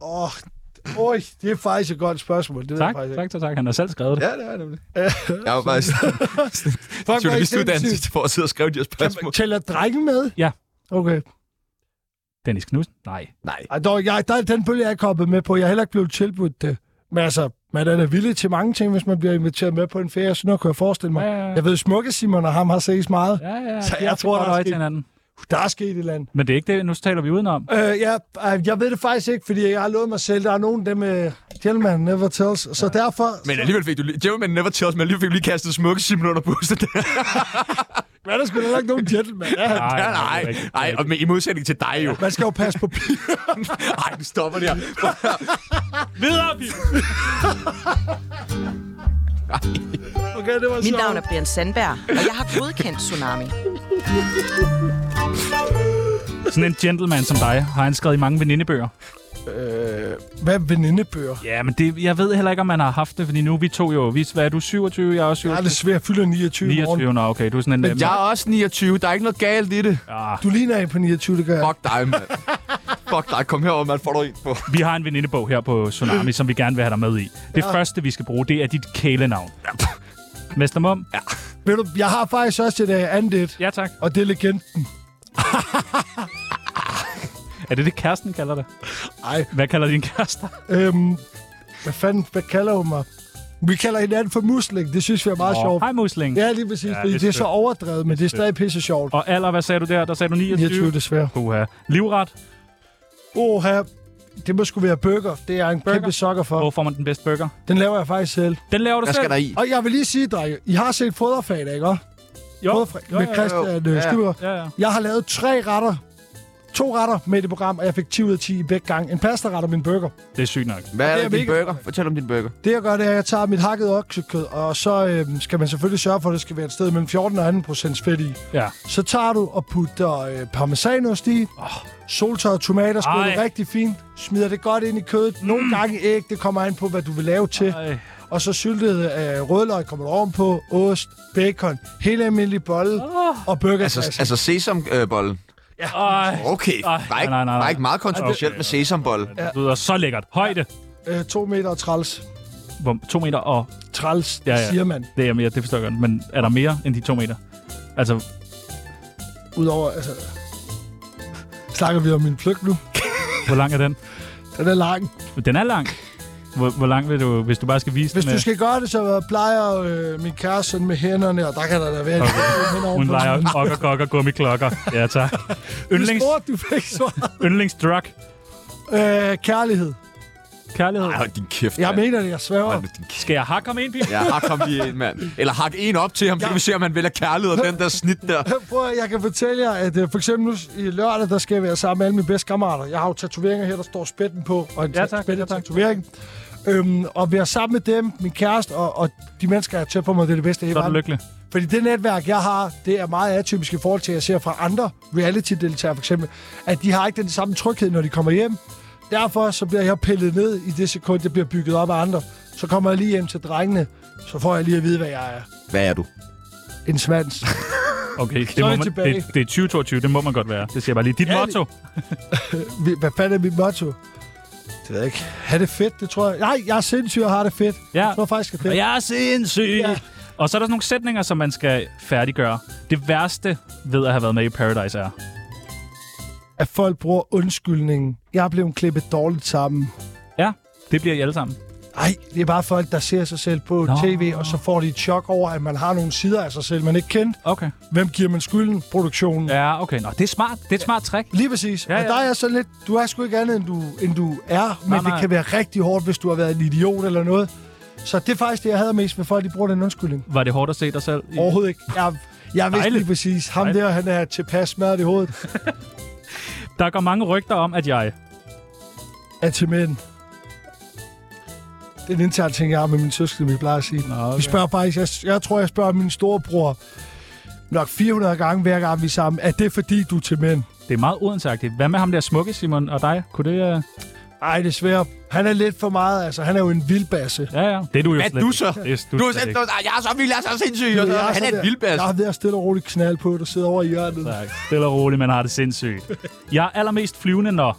Åh, Øj, det er faktisk et godt spørgsmål. Det ved jeg Tak, faktisk tak, tak, tak. Han har selv skrevet det. Ja, det er nemlig. Jeg var faktisk hvor er I journalistuddannelse sindssygt. for at sidde og skrive de her ikke. spørgsmål. Tæller drenge med? Ja. Okay. Dennis Knudsen? Nej. Nej. Ej, dog, jeg, der, er den bølge jeg er kommet med på. Jeg er heller ikke blevet tilbudt det. Men altså, man er da villig til mange ting, hvis man bliver inviteret med på en ferie. Sådan noget kunne jeg forestille mig. Ja, ja, ja. Jeg ved, Smukke Simon og ham har ses meget. Ja, ja, Så de jeg har tror, et godt der er øje til sket- hinanden. Der er sket et eller andet. Men det er ikke det, nu taler vi udenom. Øh, ja, øh, jeg ved det faktisk ikke, fordi jeg har lovet mig selv. Der er nogen af dem, øh, gentleman never tells. Så derfor... Men alligevel fik du lige... Gentleman never tells, men alligevel fik du lige kastet smukke Simon under bussen. Men er der sgu heller ikke nogen gentleman. Ja. Nej, Ja, nej, nej, og med, i modsætning til dig jo. Man skal jo passe på pigen. Nej, du stopper det her. Videre, Pils! Okay, det var Mit så... navn er Brian Sandberg, og jeg har godkendt Tsunami. Sådan en gentleman som dig har han skrevet i mange venindebøger. Hvad er venindebøger? Ja, men det, jeg ved heller ikke, om man har haft det, fordi nu er vi to jo... Vi, hvad er du, 27? Jeg er også Jeg er 27. lidt svært. Jeg fylder 29 i morgen. 29, nå, okay, du er sådan en... Jeg er øh, også 29, der er ikke noget galt i det. ah, Du ligner en på 29, det gør jeg. Fuck dig, mand. Fuck dig, kom herover, mand. Får du en på. vi har en venindebog her på Tsunami, som vi gerne vil have dig med i. Det første, vi skal bruge, det er dit kælenavn. Ja. Mester Mum? Ja. Ved du, jeg har faktisk også et uh, andet et, ja, tak. og det er legenden. Er det det, kæresten kalder dig? Ej, Hvad kalder din kæreste? øhm, hvad fanden, hvad kalder hun mig? Vi kalder hinanden for musling, det synes vi er meget Åh, sjovt. Hej, musling. Ja, lige præcis, Ja, ja, fordi det er det er så sødt. overdrevet, men det er stadig pisse sjovt. Og alder, hvad sagde du der? Der sagde du 29. 29, desværre. Uha. Livret? Oha, det må sgu være burger. Det er jeg en burger. kæmpe sokker for. Hvor får man den bedste burger? Den laver jeg faktisk selv. Den laver du Hvad selv. skal der i? Og jeg vil lige sige, drenge, I har set foderfaget, ikke? også? Jo. Foderfag Jo, med jo, jo. Christian Ja, ja. ja, Stubber. Ja, ja. Jeg har lavet tre retter. To retter med i det program, og jeg fik 10 ud af 10 i begge gange. En pastaret og min burger. Det er sygt nok. Hvad er Det er det, din mega- burger? Fortæl om din burger. Det jeg gør, det er, at jeg tager mit hakket oksekød, og så øhm, skal man selvfølgelig sørge for, at det skal være et sted mellem 14 og 18 procents fedt i. Ja. Så tager du og putter øh, parmesanost i, oh. soltørrede tomater, skruer det Ej. Mm. rigtig fint, smider det godt ind i kødet, nogle gange æg, det kommer an på, hvad du vil lave til, Ej. og så syltet øh, rødløg kommer du ovenpå, ost, bacon, helt almindelig bolle oh. og burger. Altså, altså sesambollen. Ej. Okay, Ej, der er ikke, nej, nej, nej. Der er ikke meget kontroversielt Okay. med sesambolle. Det lyder så lækkert. Højde. øh, to meter og træls. Hvor, to meter og... Træls, Ja, ja, ja. ja. siger man. Det, er mere, det forstår jeg godt. Men er der mere end de to meter? Altså, Udover, altså... Snakker vi om min pløk nu? hvor lang er den? Den er lang. Den er lang. Hvor, hvor langt vil du, hvis du bare skal vise Hvis den? du øh, skal gøre det, så plejer øh, min kæreste sådan med hænderne, og der kan der da være okay. en Hun leger okker, kokker, gummiklokker. Ja, tak. Yndlings... Yndlings, Du spurgte, du fik svaret. yndlingsdrug. Øh, kærlighed. Kærlighed. Ej, hold din kæft, Jeg mand. mener det, jeg sværger. Hold din kæft. Skal jeg hakke ham ind, Pip? Ja, hak ham lige ind, mand. Eller hak en op til ham, så kan vi se, om han vælger kærlighed og den der snit der. Prøv at, jeg kan fortælle jer, at øh, for eksempel nu i lørdag, der skal jeg være sammen med alle mine bedste kammerater. Jeg har jo tatoveringer her, der står spætten på, og en Ja, tak. spættet Ja, tak. tatovering. Øhm, og være sammen med dem, min kæreste og, og de mennesker, jeg er tæt på mig, det er det bedste i Så er du verden. lykkelig. Fordi det netværk, jeg har, det er meget atypisk i forhold til, at jeg ser fra andre reality-deltagere for eksempel, at de har ikke den samme tryghed, når de kommer hjem. Derfor så bliver jeg pillet ned i det sekund, jeg bliver bygget op af andre. Så kommer jeg lige hjem til drengene, så får jeg lige at vide, hvad jeg er. Hvad er du? En svans. Okay, det, er må vi man, tilbage. det, det er 2022, det må man godt være. Det siger jeg bare lige. Dit Ja, motto. Vi- Hvad fanden er mit motto? Det ved jeg ikke. Ha' det fedt, det tror jeg. Nej, jeg er sindssyg og har det fedt. Ja. Jeg tror faktisk, at det Og er jeg er sindssyg. Ja. Ja. Og så er der sådan nogle sætninger, som man skal færdiggøre. Det værste ved at have været med i Paradise er... at folk bruger undskyldningen. Jeg er blevet klippet dårligt sammen. Ja, det bliver I alle sammen. Nej, det er bare folk, der ser sig selv på Nå. Nå. tv, og så får de et chok over, at man har nogle sider af sig selv, man ikke kendte. Okay. Hvem giver man skylden? Produktionen. Ja. Ja, okay. Nå, det er smart. Det er et smart trick. Lige præcis. Ja, Ja, ja. Og ja. der er jeg sådan lidt, du er sgu ikke andet, end du, end du er, men nej, Nej, nej. det nej. kan være rigtig hårdt, hvis du har været en idiot eller noget. Så det er faktisk det, jeg havde mest med folk, de bruger den undskyldning. Var det hårdt at se dig selv? i- Overhovedet ikke. Jeg, jeg vidste Dejligt. lige præcis, ham Dejligt. der, han er tilpas smadret i hovedet. Der går mange rygter om, at jeg... er til mænd. Det er en intern ting, jeg har med min søskende, vi plejer at sige. Nå, Vi spørger faktisk, jeg, jeg tror, jeg spørger min storebror nok 400 gange hver gang, vi er sammen. Er det fordi, du er til mænd? Det er meget uansagtigt. Hvad med ham der smukke, Simon, og dig? Kunne det... Uh... Ej, desværre. Han er lidt for meget, altså. Han er jo en vildbasse. Ja, ja. Det er du jo Hvad slet er du ikke. så? Det er du, Du er slet sådan, ikke. "Nå, jeg er så vild, jeg er så sindssyg. og Du ved, jeg så- Han er sådan et der- vildbærs. Jeg er ved at stille og roligt knald på, der sidder over i hjørnet. Tak. Stille og roligt, man har det sindssygt. Jeg er allermest flyvende, når...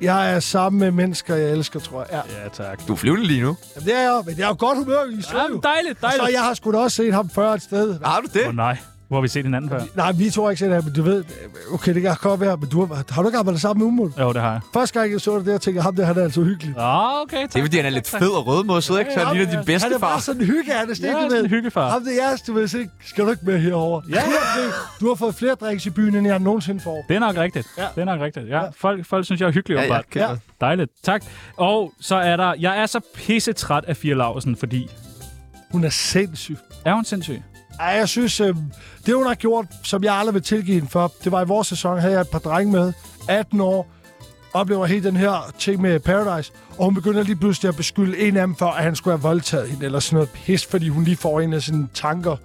Jeg er sammen med mennesker, jeg elsker, tror jeg. Ja. Ja, tak. Du er flyvende lige nu. Jamen, det er jeg, men jeg er jo godt humør, I så jo. Jamen, dejligt, dejligt. Så jeg har sgu da også set ham før et sted. Har du det? Åh, nej. Hvor har vi set hinanden før? Nej, vi tror ikke set ham, men du ved, okay, det kan godt være, men du har, har du ikke arbejdet sammen med Umul? Jo, det har jeg. Første gang, jeg så det der, tænkte jeg, ham der, han er altså hyggelig. Ah, okay, tak. Det er, fordi han er lidt fed og rødmosset, ikke? Så han ligner din Han er bedstefar. bare sådan en hygge, han er Ja, stikket sådan med. en hyggefar. Ham det er jeres, du ved ikke. Skal du ikke med herover? Ja. Du har fået flere drinks i byen, end jeg nogensinde får. Det er nok rigtigt. Ja. Det er nok rigtigt. Ja. Folk, folk synes, jeg er hyggelig, Ja, ja, åbenbart. kender. Dejligt. Tak. Og så er der... Jeg er så pisse træt af Fia Lausen, fordi... Hun er sindssyg. Er hun sindssyg? Ej, jeg synes, øh, det hun har gjort, som jeg aldrig vil tilgive hende for, det var i vores sæson, havde jeg et par drenge med, 18 år, oplever hele den her ting med Paradise, og hun begynder lige pludselig at beskylde en af dem for, at han skulle have voldtaget hende, eller sådan noget pis, fordi hun lige får en af sine tanker.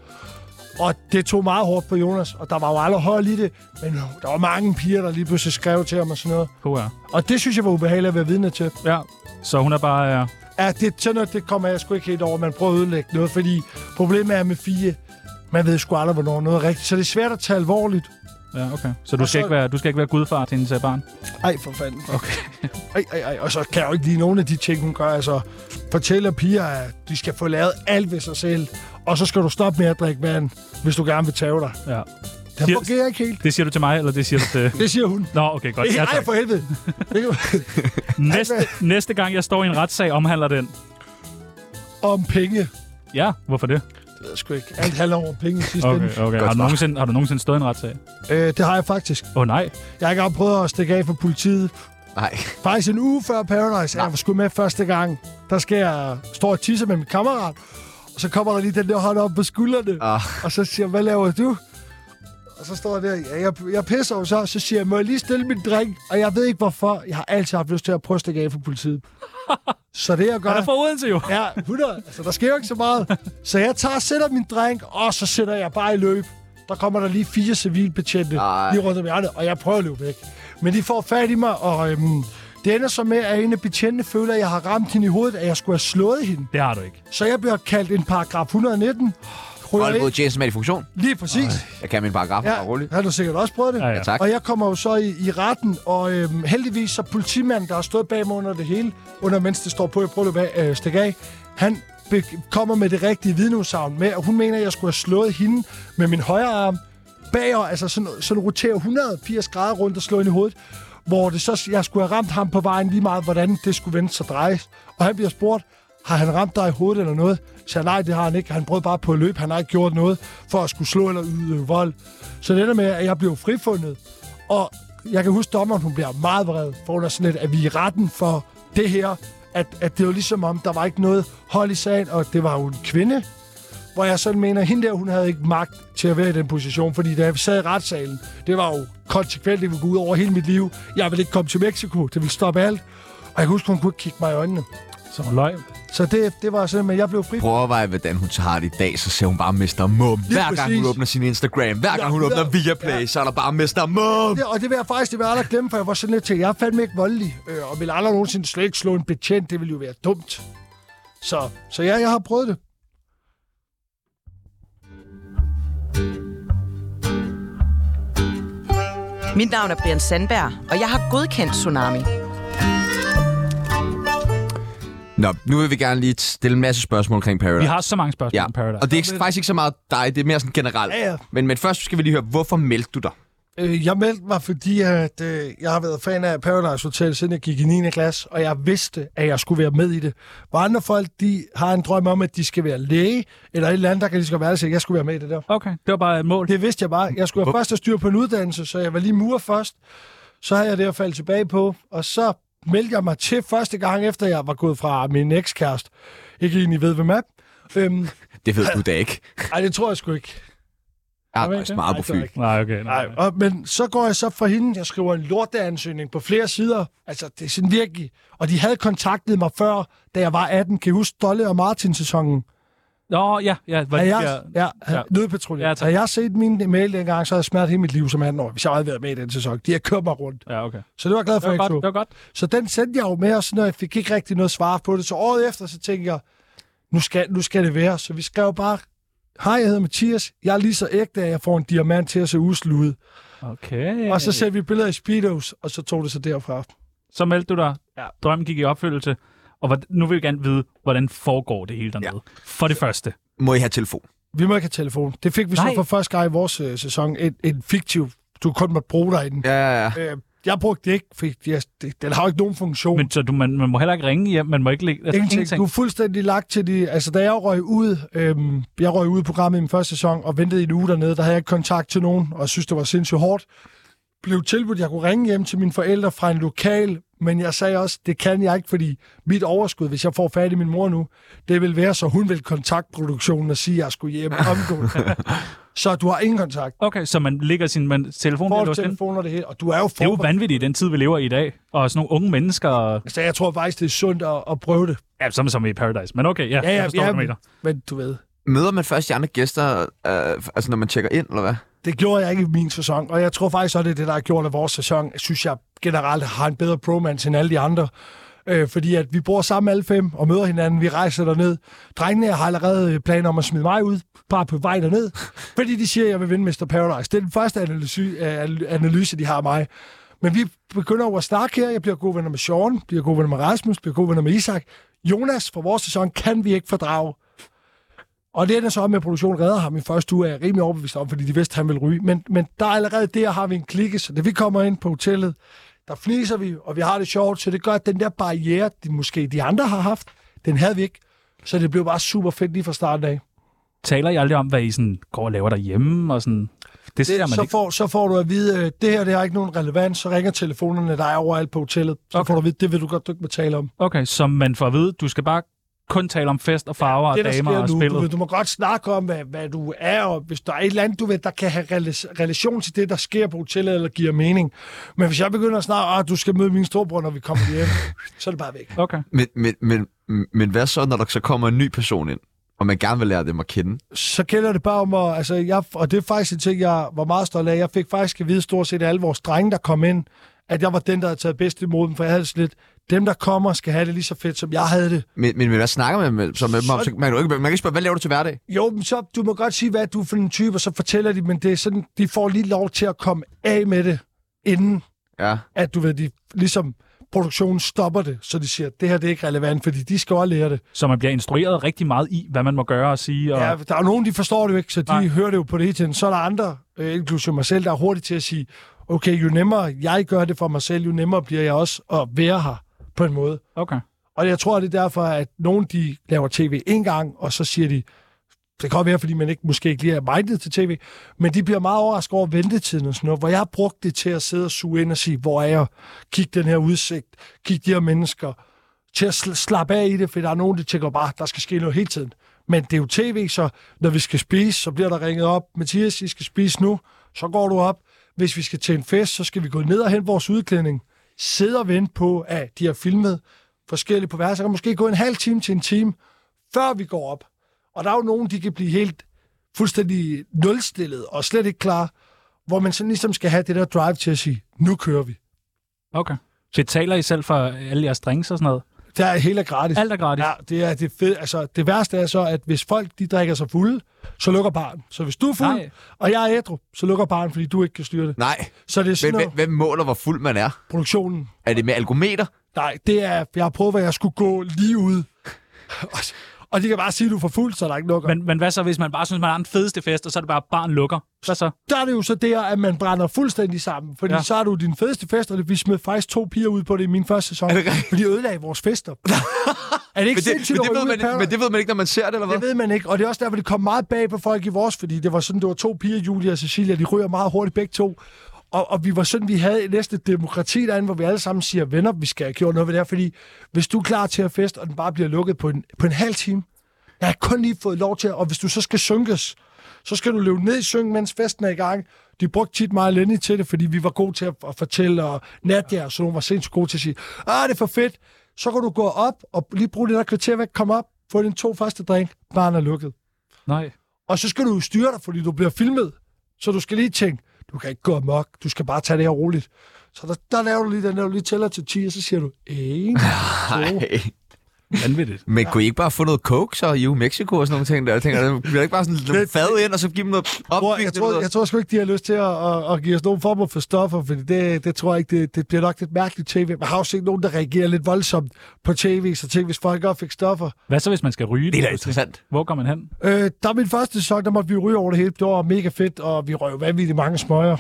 Og det tog meget hårdt på Jonas, og der var jo aldrig hold i det, men øh, der var mange piger, der lige pludselig skrev til ham og sådan noget. HR. Og det synes jeg var ubehageligt at være vidne til. Ja. Så hun er bare... Øh... Ja, det, sådan noget, det kommer jeg sgu ikke helt over, man prøver at ødelægge noget, fordi problemet er med fire, man ved sgu aldrig, hvornår noget er rigtigt, så det er svært at tage alvorligt. Ja, okay. Så du, Og skal, så- ikke være, du skal ikke være gudfar til hendes øh, barn? Ej, for fanden. Okay. Ej, ej, ej. Og så kan jeg jo ikke lide nogen af de ting, hun gør. Altså, fortæller piger, at de skal få lavet alt ved sig selv, og så skal du stoppe med at drikke vand, hvis du gerne vil tage dig. Ja. Det Siger- fungerer ikke helt. Det siger du til mig, eller det siger du til... Det siger hun. Nå, okay, godt. Ja, Ej, tak. for helvede. Det kan- Næste, næste gang, jeg står i en retssag, omhandler den. Om penge. Ja, hvorfor det? Det ved jeg sgu ikke. Alt handler om penge i sidste ende. Okay, okay. Har du, nogensinde, har du nogensinde stået i en retssag? Øh, det har jeg faktisk. Åh, oh, nej. Jeg har ikke engang prøvet at stikke af for politiet. Nej. Faktisk en uge før Paradise, jeg var sgu med første gang. Der skal jeg stå og tisse med min kammerat, og så kommer der lige den der hånd op på skuldrene, Ah. og så siger jeg, hvad laver du? Og så står jeg der, ja, jeg, jeg pisser jo så, så siger jeg, må jeg lige stille min drink? Og jeg ved ikke hvorfor, jeg har altid haft lyst til at prøve at stikke af for politiet. så det jeg gør... Han er fra Odense, jo. Ja, 100. Altså, der sker jo ikke så meget. Så jeg tager og sætter min drink, og så sætter jeg bare i løb. Der kommer der lige fire civilbetjente Ej. lige rundt om hjørnet, og jeg prøver at løbe væk. Men de får fat i mig, og øhm, det ender så med, at en af betjentene føler, at jeg har ramt hende i hovedet, at jeg skulle have slået hende. Det har du ikke. Så jeg bliver kaldt en paragraf 119. Ryger Hold mod ind. Jason med i funktion. Lige præcis. Jeg kan min paragraf. Ja. Rolig. har du sikkert også prøvet det? Ja, ja. Ja, tak. Og jeg kommer jo så i, i retten, og øhm, heldigvis så politimanden, der har stået bag mig under det hele, under mens det står på, jeg prøver at løbe af, øh, stikke af, han be- kommer med det rigtige vidneudsagn med, at hun mener, at jeg skulle have slået hende med min højre arm bagover, altså sådan, sådan roterer 180 grader rundt og slå hende i hovedet. hvor det så, jeg skulle have ramt ham på vejen lige meget, hvordan det skulle vende sig drejes. Og han bliver spurgt, har han ramt dig i hovedet eller noget? Så jeg, nej, det har han ikke. Han prøvede bare på at løbe. Han har ikke gjort noget for at skulle slå eller yde vold. Så det ender med, at jeg blev frifundet. Og jeg kan huske, dommeren hun bliver meget vred, for hun er sådan lidt, at vi er i retten for det her. At, at det var ligesom om, der var ikke noget hold i sagen, og det var jo en kvinde, hvor jeg sådan mener, at hende der, hun havde ikke magt til at være i den position, fordi da jeg sad i retssalen, det var jo konsekvent, det ville gå ud over hele mit liv. Jeg ville ikke komme til Mexico, det ville stoppe alt. Og jeg kan huske, hun kunne ikke kigge mig i øjnene. Så hun løg. Så det, det var sådan, men jeg blev fri. Prøv at overveje, hvordan hun tager det i dag, så ser hun bare Mr. Mum. Hver gang hun præcis. åbner sin Instagram, hver gang Ja, hun åbner ja. Viaplay, så er der bare Mr. Mum. Det, og det vil jeg faktisk det vil jeg aldrig glemme, for jeg var sådan lidt til, jeg er fandme ikke voldelig, øh, og vil aldrig nogensinde slet ikke slå en betjent, det ville jo være dumt. Så, så ja, jeg har prøvet det. Mit navn er Brian Sandberg, og jeg har godkendt Tsunami. Nå, nu vil vi gerne lige stille en masse spørgsmål omkring Paradise. Vi har så mange spørgsmål Ja, ja. om Paradise. og det er ikke, faktisk ikke så meget dig, det er mere sådan generelt. Ja, ja. Men, men først skal vi lige høre, hvorfor meldte du dig? Øh, jeg meldte mig, fordi at, øh, jeg har været fan af Paradise Hotel, siden jeg gik i 9. klasse, og jeg vidste, at jeg skulle være med i det. Hvor andre folk, de har en drøm om, at de skal være læge, eller et eller andet, der kan de skal være, så jeg skulle være med i det der. Okay, det var bare et mål. Det vidste jeg bare. Jeg skulle have først have styr på en uddannelse, så jeg var lige murer først. Så havde jeg det at falde tilbage på, og så meldte jeg mig til første gang, efter jeg var gået fra min ekskæreste. Ikke egentlig ved, hvem er. Øhm, Det ved du da ikke. ej, det tror jeg sgu ikke. Jeg ved er faktisk det. meget på Ej, det er fyn. ikke. Nej, okay. Nej. Nej, og, men så går jeg så fra hende, jeg skriver en lorteansøgning på flere sider. Altså, det er sådan virkelig. Og de havde kontaktet mig før, da jeg var 18. Kan I huske Dolle og Martin-sæsonen? Nå, ja, ja. Var Har det, jeg, ja. ja, Ja. ja. Nødpatrulje. Ja, Ja, tak. har jeg set min mail dengang, så har jeg smert hele mit liv som 18 år, hvis jeg havde været med i den sæson. De har kørt mig rundt. ja, okay. Så det var jeg glad Det for, var, at jeg godt, ikke det tog. var godt. Så den sendte jeg jo med, og sådan noget. jeg fik ikke rigtig noget svar på det. Så året efter, så tænkte jeg, nu skal, nu skal det være. Så vi skrev bare, hej, jeg hedder Mathias. Jeg er lige så ægte, at jeg får en diamant til at se usel ud. Okay. Og så sendte vi billeder i Speedos, og så tog det sig derfra. så meldte du dig. Ja. Drømmen gik i opfyldelse. Og hvor, nu vil vi gerne vide, hvordan foregår det hele dernede. Ja. For det første. Må I have telefon? Vi må ikke have telefon. Det fik vi Nej. så for første gang i vores øh, sæson. En, en fiktiv, du kun måtte bruge dig i den. Ja, ja, ja. Øh, jeg brugte det ikke, for jeg, det, den har jo ikke nogen funktion. Men så du, man, man må heller ikke ringe hjem, man må ikke lægge... Ingenting. Du er fuldstændig lagt til de... Altså, da jeg røg ud... Øhm, jeg røg ud i programmet i min første sæson og ventede i en uge dernede. Der havde jeg ikke kontakt til nogen, og jeg synes, det var sindssygt hårdt. Blev tilbudt, at jeg kunne ringe hjem til mine forældre fra en lokal, men jeg sagde også, det kan jeg ikke, fordi mit overskud, hvis jeg får fat i min mor nu, det vil være, så hun vil kontakte produktionen og sige, at jeg skulle hjem omgående. så du har ingen kontakt. Okay, så man ligger sin man, Får telefon... bliver du låst ind. telefoner og det hele, og du er jo Det er jo forberedt. vanvittigt i den tid, vi lever i i dag. Og sådan nogle unge mennesker, og- Så jeg tror faktisk, det er sundt at, at prøve det. ja, som, som i Paradise. Men okay, ja, ja, ja jeg forstår, ja, hvad du mener. men du ved. Møder man først de andre gæster, øh, altså når man tjekker ind, eller hvad? Det gjorde jeg ikke i min sæson, og jeg tror faktisk også, det er det, der har gjort, at vores sæson, synes jeg generelt, har en bedre bromance end alle de andre. Øh, fordi at vi bor sammen alle fem og møder hinanden, vi rejser derned. Drengene har allerede øh, planer om at smide mig ud, bare på vej derned, fordi de siger, at jeg vil vinde Mr. Paradise. Det er den første analyse, øh, al- analyse de har af mig. Men vi begynder over at snakke her. Jeg bliver gode venner med Sean, bliver gode venner med Rasmus, bliver gode venner med Isak. Jonas fra vores sæson kan vi ikke fordrage. Og det ender så op med, at produktionen redder ham i første uge, er jeg rimelig overbevist om, fordi de vidste, at han ville ryge. Men, men der er allerede der, har vi en klikke, så da vi kommer ind på hotellet, der fniser vi, og vi har det sjovt, så det gør, at den der barriere, de, måske de andre har haft, den havde vi ikke. Så det blev bare super fedt lige fra starten af. Taler I aldrig om, hvad I sådan går og laver derhjemme? Og sådan, det ser Det, man så, ikke. får, så får du at vide, øh, det her det har ikke nogen relevans, så ringer telefonerne, der er overalt på hotellet. Så Okay. okay. får du at vide, det vil du godt du ikke må tale om. Okay, så man får at vide, du skal bare kun tale om fest og farver det, og der damer og sker nu, du, spillet. ved, du må godt snakke om, hvad, hvad du er, og hvis der er et eller andet, du ved, der kan have rela- relation til det, der sker på hotellet, eller giver mening. Men hvis jeg begynder at snakke, at du skal møde min storbror, når vi kommer hjem, så er det bare væk. Okay. Men, men, men, men hvad så, når der så kommer en ny person ind, og man gerne vil lære dem at kende? Så gælder det bare om at, altså, jeg, og det er faktisk en ting, jeg var meget stolt af. Jeg fik faktisk at vide stort set af alle vores drenge, der kom ind, at jeg var den, der havde taget bedst imod dem, for jeg havde det sådan lidt, dem, der kommer, skal have det lige så fedt, som jeg havde det. Men, men, men hvad snakker man med, så med dem om? Så, Så- man, kan jo ikke, man kan ikke spørge, hvad laver du til hverdag? Jo, men så, du må godt sige, hvad du er for en type, og så fortæller de, men det er sådan, de får lige lov til at komme af med det, inden Ja. at du ved, de ligesom produktionen stopper det, så de siger, det her det er ikke relevant, fordi de skal også lære det. Så man bliver instrueret rigtig meget i, hvad man må gøre og sige. Og... Ja, der er jo nogen, de forstår det jo ikke, så de Nej. Nej. hører det jo på det hele tiden. Så er der andre, øh, inklusive mig selv, der er hurtigt til at sige, okay, jo nemmere jeg gør det for mig selv, jo nemmere bliver jeg også at være her på en måde. Okay. Og jeg tror, det er derfor, at nogen de laver tv en gang, og så siger de, det kan godt være, fordi man ikke, måske ikke lige er mindet til tv, men de bliver meget overrasket over ventetiden og sådan noget, hvor jeg har brugt det til at sidde og suge ind og sige, hvor er jeg, kig den her udsigt, kig de her mennesker, til at sl- slappe af i det, for der er nogen, der tænker bare, der skal ske noget hele tiden. Men det er jo tv, så når vi skal spise, så bliver der ringet op, Mathias, I skal spise nu, så går du op. Hvis vi skal til en fest, så skal vi gå ned og hente vores udklædning, sidde og vente på, at de har filmet forskelligt på værelser. Der kan måske gå en halv time til en time, før vi går op. Og der er jo nogen, de kan blive helt fuldstændig nulstillet og slet ikke klar, hvor man sådan ligesom skal have det der drive til at sige, nu kører vi. Okay. Så I taler I selv for alle jeres drinks og sådan noget? Der er helt er gratis. Alt er gratis. Ja, det er det fede. Altså, det værste er så, at hvis folk de drikker sig fulde, så lukker baren. Så hvis du er fuld, Nej. Nej. og jeg er ædru, så lukker baren, fordi du ikke kan styre det. Nej. Så det er Hvem, sådan hvem, noget, hvem måler, hvor fuld man er? produktionen. Er det med algometer? Nej, det er, jeg har prøvet, at jeg skulle gå lige ud. og, og de kan bare sige, at du er for fuld, så er der ikke lukker. Men... Men, men hvad så, hvis man bare synes, man har den fedeste fest, og så er det bare, barn lukker? Hvad så? Der er det jo så der, at man brænder fuldstændig sammen. Fordi Ja. ja. så er du din fedeste fest, og vi smed faktisk to piger ud på det i min første sæson. Er det rigtigt? Fordi de ødelagde vores fester. er det ikke Men det, sindssygt men, at det ved ryge ud i man, ikke- Paradise? men det ved man ikke, når man ser det, eller hvad? Det ved man ikke, og det er også derfor, det kom meget bag på folk i vores, fordi det var sådan, det var to piger, Julia og Cecilia, de ryger meget hurtigt begge to. Og, og vi var sådan, vi havde næsten et demokrati derinde, hvor vi alle sammen siger, venner, vi skal have gjort noget ved det her, fordi hvis du er klar til at fest, og den bare bliver lukket på en, på en halv time, jeg har kun lige fået lov til, og hvis du så skal synkes, så skal du løbe ned i synken, mens festen er i gang. De brugte tit mig og Lenny til det, fordi vi var gode til at, at fortælle, og Nadia og sådan nogle var sindssygt gode til at sige, ah, det er for fedt. Så kan du gå op og lige bruge det der kvarter væk, komme op, få din to første drink, baren er lukket. Nej. Og så skal du jo styre dig, fordi du bliver filmet. Så du skal lige tænke, du kan ikke gå amok, du skal bare tage det her roligt. Så der, der laver du lige den der, du lige tæller til 10, og så siger du, en, to, Ej. Vanvittigt. Men kunne I ikke bare få noget coke, så i Mexico og sådan nogle ting der? Jeg tænker, det bliver ikke bare sådan lidt fad ind, og så give dem noget op. Bror, jeg, tror, jeg tror sgu ikke, de har lyst til at, at, at give os nogen form for stoffer, for det, det tror jeg ikke, det, det bliver nok lidt mærkeligt tv. Man har jo set nogen, der reagerer lidt voldsomt på tv, så tænk, hvis folk godt fik stoffer. Hvad så, hvis man skal ryge? Det er da interessant. Hvor går man hen? Øh, der min første sæson, der måtte vi ryge over det hele. Det var mega fedt, og vi røg jo vanvittigt mange smøger.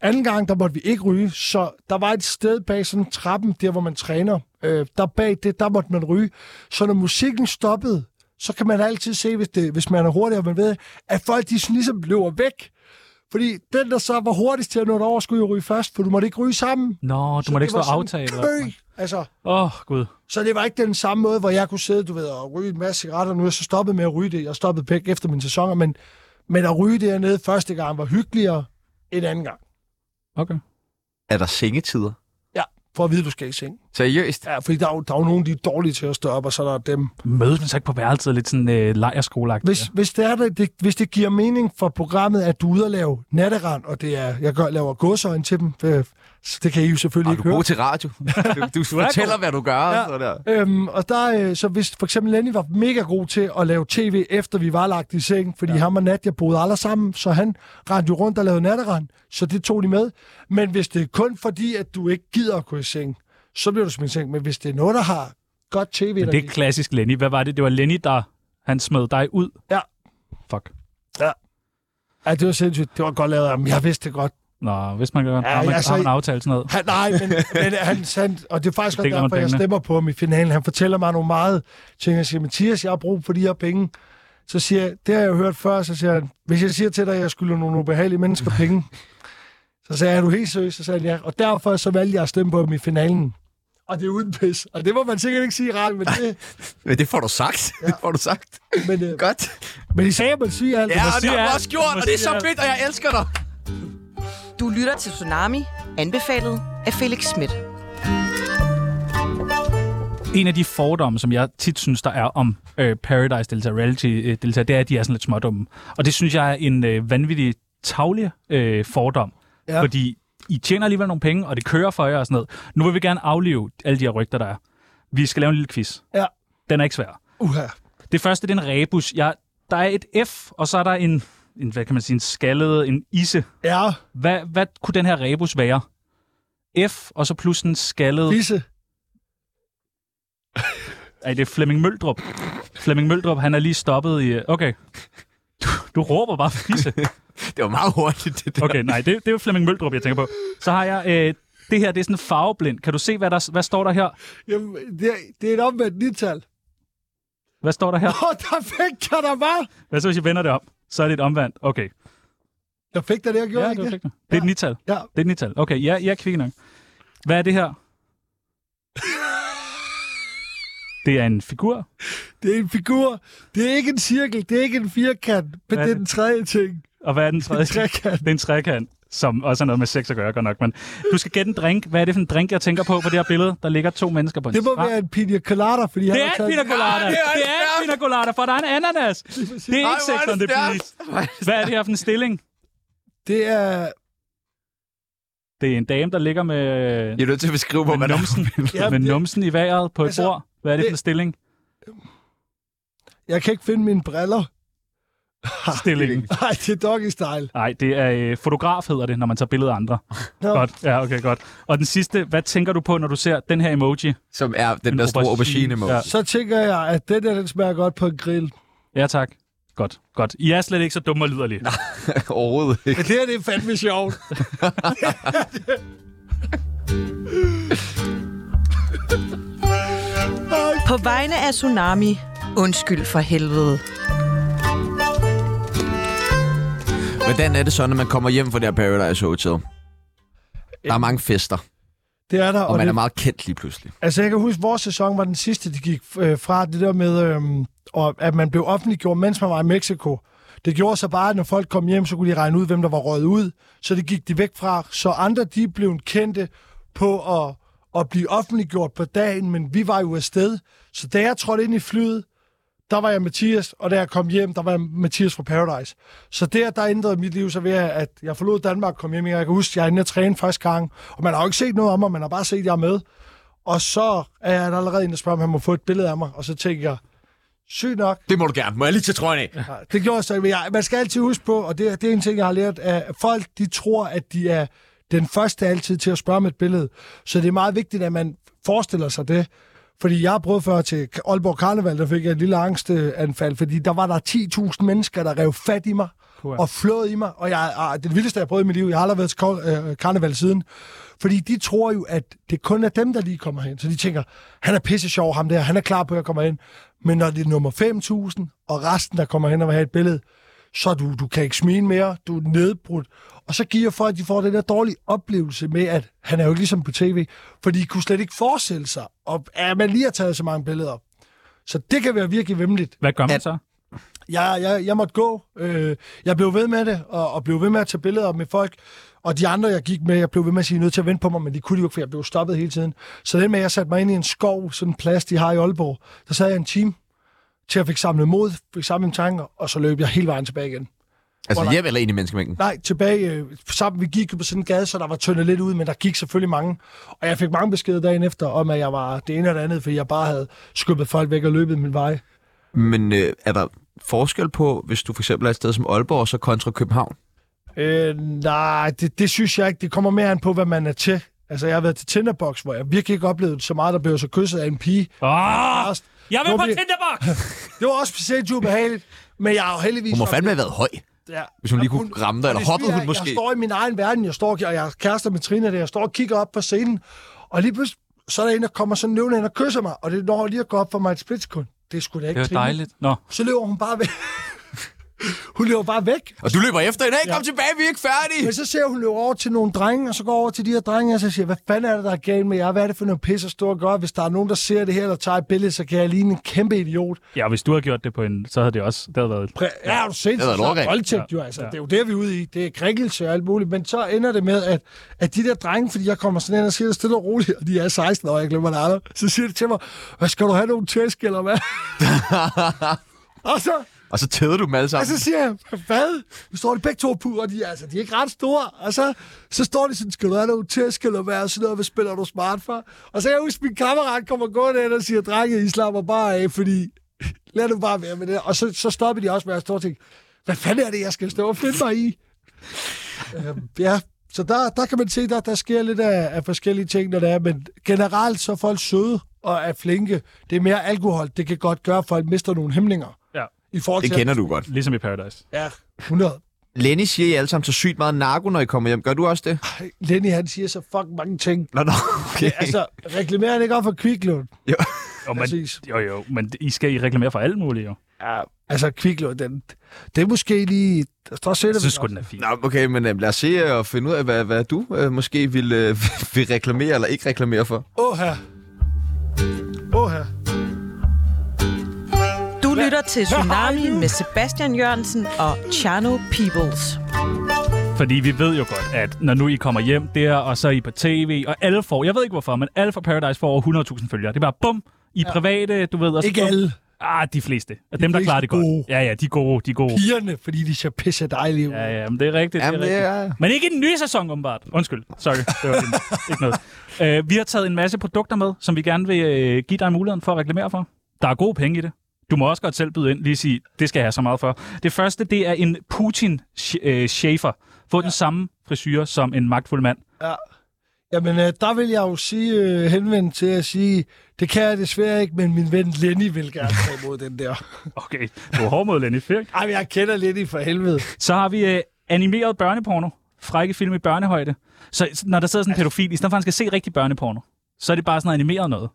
Anden gang, der måtte vi ikke ryge, så der var et sted bag sådan trappen, der hvor man træner. Øh, der bag det, der måtte man ryge. Så når musikken stoppede, så kan man altid se, hvis, det, hvis man er hurtig, og man ved, at folk de sådan ligesom løber væk. Fordi den, der så var hurtigst til at nå et over, skulle jo ryge først, for du måtte ikke ryge sammen. Nå, du må det ikke stå var og sådan aftale. eller- Kø! Altså, Åh, oh, gud. så det var ikke den samme måde, hvor jeg kunne sidde, du ved, og ryge en masse cigaretter. Nu er jeg så stoppet med at ryge det. Jeg stoppede pæk efter mine sæsoner, men, men at ryge det hernede første gang var hyggeligere end anden gang. Okay. Er der sengetider? Ja, for at vide, du skal i seng. Seriøst? Ja, fordi der er jo, der er jo nogen, de er dårlige til at stå op, og så er der dem. Mødes man så ikke på værelset lidt sådan øh, lejerskoleagtigt? Hvis, ja. hvis, det er det, det, hvis det giver mening for programmet, at du er ude og lave natterand, og det er, jeg gør, laver godsøjne til dem, øh, så det kan I jo selvfølgelig Ej, ikke du er høre. god til radio. Du, du fortæller, hvad du gør. Ja. Så der. Øhm, og der, øh, så hvis for eksempel Lenny var mega god til at lave tv, efter vi var lagt i seng, fordi ja. ham og Nadia boede alle sammen, så han rendte jo rundt og lavede natterand, så det tog de med. Men hvis det er kun fordi, at du ikke gider at gå i seng, så bliver du smidt i seng. Men hvis det er noget, der har godt tv, Men der det er klassisk Lenny. Hvad var det? Det var Lenny, der han smed dig ud. Ja. Fuck. ja, det var sindssygt. Det var godt lavet af ham. Jeg vidste det godt. Nå, hvis man gør, ja, Ja, har man, altså- har man aftalt sådan noget. Han, nej, men, men han sandt, og det er faktisk også Deler man derfor, jeg pengene? stemmer på ham i finalen. Han fortæller mig nogle meget ting. Jeg siger, Mathias, jeg har brug for de her penge. Så siger jeg, det har jeg jo hørt før, så siger han, hvis jeg siger til dig, at jeg skylder nogle ubehagelige mennesker penge, så sagde jeg, er du helt seriøs? Så sagde han, ja. Og derfor så valgte jeg at stemme på ham i finalen. Og det er uden pis. Og det må man sikkert ikke sige ret, men det... Men det får du sagt. Ja. Det får du sagt. Men, øh, Godt. men I sagde, at man siger alt. Ja, Man og det sige har du alt. også gjort, Du må og det er sige så alt. fedt, og jeg elsker dig. Du lytter til Tsunami, anbefalet af Felix Schmidt. En af de fordomme, som jeg tit synes, der er om øh, Paradise-deltager, reality-deltager, øh, det er, at de er sådan lidt smådumme. Og det synes jeg er en øh, vanvittig tavlig øh, fordom. Ja. Ja. Fordi I tjener alligevel nogle penge, og det kører for jer og sådan noget. Nu vil vi gerne aflive alle de her rygter, der er. Vi skal lave en lille quiz. Ja. Den er ikke svær. Uha. Det første, det er en rebus. Jeg, der er et F, og så er der en, en hvad kan man sige, en skaldet, en isse. Ja, Hvad, hvad kunne den her rebus være? F, og så plus en skaldet Lise. Ej, det er Flemming Møldrup. Flemming Møldrup, han er lige stoppet i... Okay. Du, du råber bare fisse. Det var meget hurtigt, det der. Okay, nej, det, det er jo Flemming Møldrup, jeg tænker på. Så har jeg... Øh, det her, det er sådan farveblind. Kan du se, hvad, der, hvad står der her? Jamen, det, er- det er et omvendt nital. Hvad står der her? Åh, oh, der fik jeg der bare. Hvad så, hvis jeg vender det om? Så er det et omvendt. Okay. Jeg fik da det, jeg gjorde, Ja, det, ikke var det? det. det er et nital. Ja. Det er et nital. Okay, ja, jeg er kvik nok. Hvad er det her? Det er en figur. Det er en figur. Det er ikke en cirkel. Det er ikke en firkant. Men det er er det? den tredje ting. Og hvad er den tredje? trekant. Det er en trekant, som også har noget med sex at gøre, godt nok. Men du skal gætte en drink. Hvad er det for en drink, jeg tænker på på det her billede? Der ligger to mennesker på en Det må strand. være en pina colada, fordi han Det har er en taget... pina colada. Ah, det er det er en pina colada, for der er en ananas. Det er ikke hvor er sex det on the stærkt. beach. Hvad er det her for en stilling? Det er... Det er en dame, der ligger med, Jeg er nødt til at beskrive, hvor med, man er. numsen, Ja, med det- numsen i vejret på et Altså, bord. Hvad er det for en det- stilling? Jeg kan ikke finde mine briller. Stilling. Nej, det er doggy style. Nej, det er øh, fotograf hedder det, når man tager billeder af andre. Nå. Godt. Ja, okay, godt. Og den sidste, hvad tænker du på, når du ser den her emoji? Som er den der store aubergine måde. Ja. Så tænker jeg, at den der, den smager godt på en grill. ja, tak. Godt, godt. I er slet ikke så dumme og liderlige. Overhovedet ikke. Men det her, det er fandme sjovt. På vegne af Tsunami, undskyld for helvede. Hvordan er det så, når man kommer hjem fra det her Paradise Hotel? Der er mange fester, Det er der. og man det, er meget kendt lige pludselig. Altså, jeg kan huske, vores sæson var den sidste, det gik øh, fra det der med, øh, og, at man blev offentliggjort, mens man var i Mexico. Det gjorde så bare, at når folk kom hjem, så kunne de regne ud, hvem der var røget ud. Så det gik de væk fra. Så andre, de blev kendte på at, at blive offentliggjort på dagen, men vi var jo afsted. Så da jeg trådte ind i flyet, der var jeg Mathias, og da jeg kom hjem, der var jeg Mathias fra Paradise. Så der, der ændrede mit liv så ved, at jeg forlod Danmark og kom hjem. Jeg kan huske, at jeg er inde og træne første gang, og man har jo ikke set noget om mig, man har bare set, at jeg er med. Og så er jeg allerede inde og spørger, om han må få et billede af mig. Og så tænker jeg, sygt nok. Det må du gerne. Må jeg lige tage trøjen af? Nej, Det gjorde jeg så ikke. men jeg- Man skal altid huske på, og det, er- det er en ting, jeg har lært, at folk de tror, at de er den første altid til at spørge om et billede. Så det er meget vigtigt, at man forestiller sig det. Fordi jeg har prøvet før til Aalborg Karneval, der fik jeg et lille angstanfald, fordi der var der 10.000 mennesker, der rev fat i mig og flåede i mig. Og jeg, ah, det vildeste, jeg har prøvet i mit liv, jeg har aldrig været til kol- øh, karneval siden. Fordi de tror jo, at det kun er dem, der lige kommer hen. Så de tænker, han er pisse sjov, ham der, han er klar på, at jeg kommer hen. Men når det er nummer 5.000, og resten, der kommer hen og vil have et billede, så er du, du kan ikke smile mere, du er nedbrudt. Og så giver folk, at de får den der dårlige oplevelse med, at han er jo ikke ligesom på tv, for de kunne slet ikke forestille sig, og, at man lige har taget så mange billeder. Så det kan være virkelig vemmeligt Hvad gør man så? jeg, jeg, jeg måtte gå. Øh, jeg blev ved med det, og, og blev ved med at tage billeder med folk. Og de andre, jeg gik med, jeg blev ved med at sige, I er nødt til at vente på mig, men de kunne de jo ikke, for jeg blev stoppet hele tiden. Så det med, at jeg satte mig ind i en skov, sådan en plads, de har i Aalborg, der sad jeg en time til at fik samlet mod, fik samlet tanker, og så løb jeg hele vejen tilbage igen. Altså Hvor hjem eller ind i menneskemængden? Nej, tilbage øh, sammen. Vi gik jo på sådan en gade, så der var tyndet lidt ud, men der gik selvfølgelig mange. Og jeg fik mange beskeder dagen efter, om at jeg var det ene og det andet, fordi jeg bare havde skubbet folk væk og løbet min vej. Men øh, er der forskel på, hvis du for eksempel er et sted som Aalborg, og så kontra København? Øh, nej, det, det synes jeg ikke. Det kommer mere an på, hvad man er til. Altså, jeg har været til Tinderbox, hvor jeg virkelig ikke oplevede så meget, der blev så kysset af en pige. Åh, Først. jeg vil Nu på bliver- Tinderbox! Det var også sindssygt ubehageligt, men jeg har jo heldigvis... Hun må oplevet- fandme have været høj, Ja. hvis hun lige kunne Hun- ramme dig, og eller det hoppede syge er, hun måske. Jeg står i min egen verden, jeg står, og jeg er kærester med Trine, der, jeg står og kigger op på scenen, og lige pludselig, så er der en, der kommer sådan løvende hen og kysser mig, og det når lige at gå op for mig et splitsekund. Det skulle da ikke Trine. Nå, Så løber hun bare væk. hun løber bare væk, Og du løber efter hende. Hey, kom tilbage, vi er ikke færdige! Men så ser hun løbe over til nogle drenge, og så går over til de her drenge, og så siger, hvad fanden er det, der er galt med jer? Hvad er det for noget pis at stå og gøre? Hvis der er nogen, der ser det her, eller tager et billede, så kan jeg ligne en kæmpe idiot. ja, hvis du havde gjort det på en, så havde det også det havde været... Præ- ja, er du sindssygt? Det er da et Så er overgreb. voldtægt jo, altså. Det er jo det, vi er ude i. Det er krænkelse og alt muligt. Men så ender det med, at, at de der drenge, fordi jeg kommer sådan ind og siger det stille og roligt, og de er 16 år, jeg glemmer det aldrig, så siger de til mig, hvad skal du have nogle tæsk, eller hvad? og så, Og så tæder du dem alle Og sammen. så siger jeg, hvad? Nu står de begge to på, og de, er- altså, de er ikke ret store. Og så, så står de sådan, skal du have nogle tæsk eller hvad? Og sådan noget, hvad spiller du smart for? Og så kan jeg husker, min kammerat kommer gående ind og siger, drenge, I slapper bare af, fordi lad nu bare være med det. Og så, så stopper de også med at stå og tænke, hvad fanden er det, jeg skal stå og finde mig i? øhm, ja, så der, der kan man se, der, der sker lidt af, af forskellige ting, når det er. Men generelt så er folk søde og er flinke. Det er mere alkohol. Det kan godt gøre, at folk mister nogle hæmninger. Ja. I forhold Det til kender du godt. Ligesom i Paradise. 100. Lenny siger, I alle sammen tager sygt meget narko, når I kommer hjem. Gør du også det? Lenny, han siger så fucking mange ting. Nå, nå, okay. Altså, reklamerer han ikke op for kviklån? Jo, men, Præcis. jo, jo, men I skal I reklamere for alt muligt, jo. Altså, kviklån, den, det er måske lige... Der står selv, Jeg synes sgu, den er fin. Nå, okay, men øh, lad os se øh, og finde ud af, hvad, hvad du øh, måske vil, øh, vil reklamere eller ikke reklamere for. Åh, her. Åh, her. Du lytter til Tsunami med Sebastian Jørgensen og Chano Peoples. Fordi vi ved jo godt, at når nu I kommer hjem der, og så er I på tv, og alle får, jeg ved ikke hvorfor, men alle fra Paradise får over 100.000 følgere. Det er bare bum, I er private, du ved. Og så Ikke bum. alle Ah, de fleste. Og dem, der fleste klarer det godt. gode. Ja, ja, de er gode, de er gode. pigerne, fordi de ser pisse dejlige ud. Ja, Ja, ja, men det er rigtigt. Jamen, det det er rigtigt. er... Men ikke i den nye sæson, åbenbart. Undskyld. Sorry. Det var din- ikke noget. Uh, vi har taget en masse produkter med, som vi gerne vil uh, give dig muligheden for at reklamere for. Der er gode penge i det. Du må også godt selv byde ind. Lige sige, det skal jeg have så meget for. Det første, det er en Putin-chefer. Få den samme frisyr som en magtfuld mand. Jamen, øh, der vil jeg jo sige, øh, henvende til at sige, det kan jeg desværre ikke, men min ven Lenny vil gerne tage imod den der. Okay, du er hård mod Lenny Firk. Ej, men jeg kender Lenny for helvede. Så har vi øh, animeret børneporno. Frække film i børnehøjde. Så så når der sidder sådan en pædofil, i stedet for at han skal se rigtig børneporno, så er det bare sådan noget animeret noget.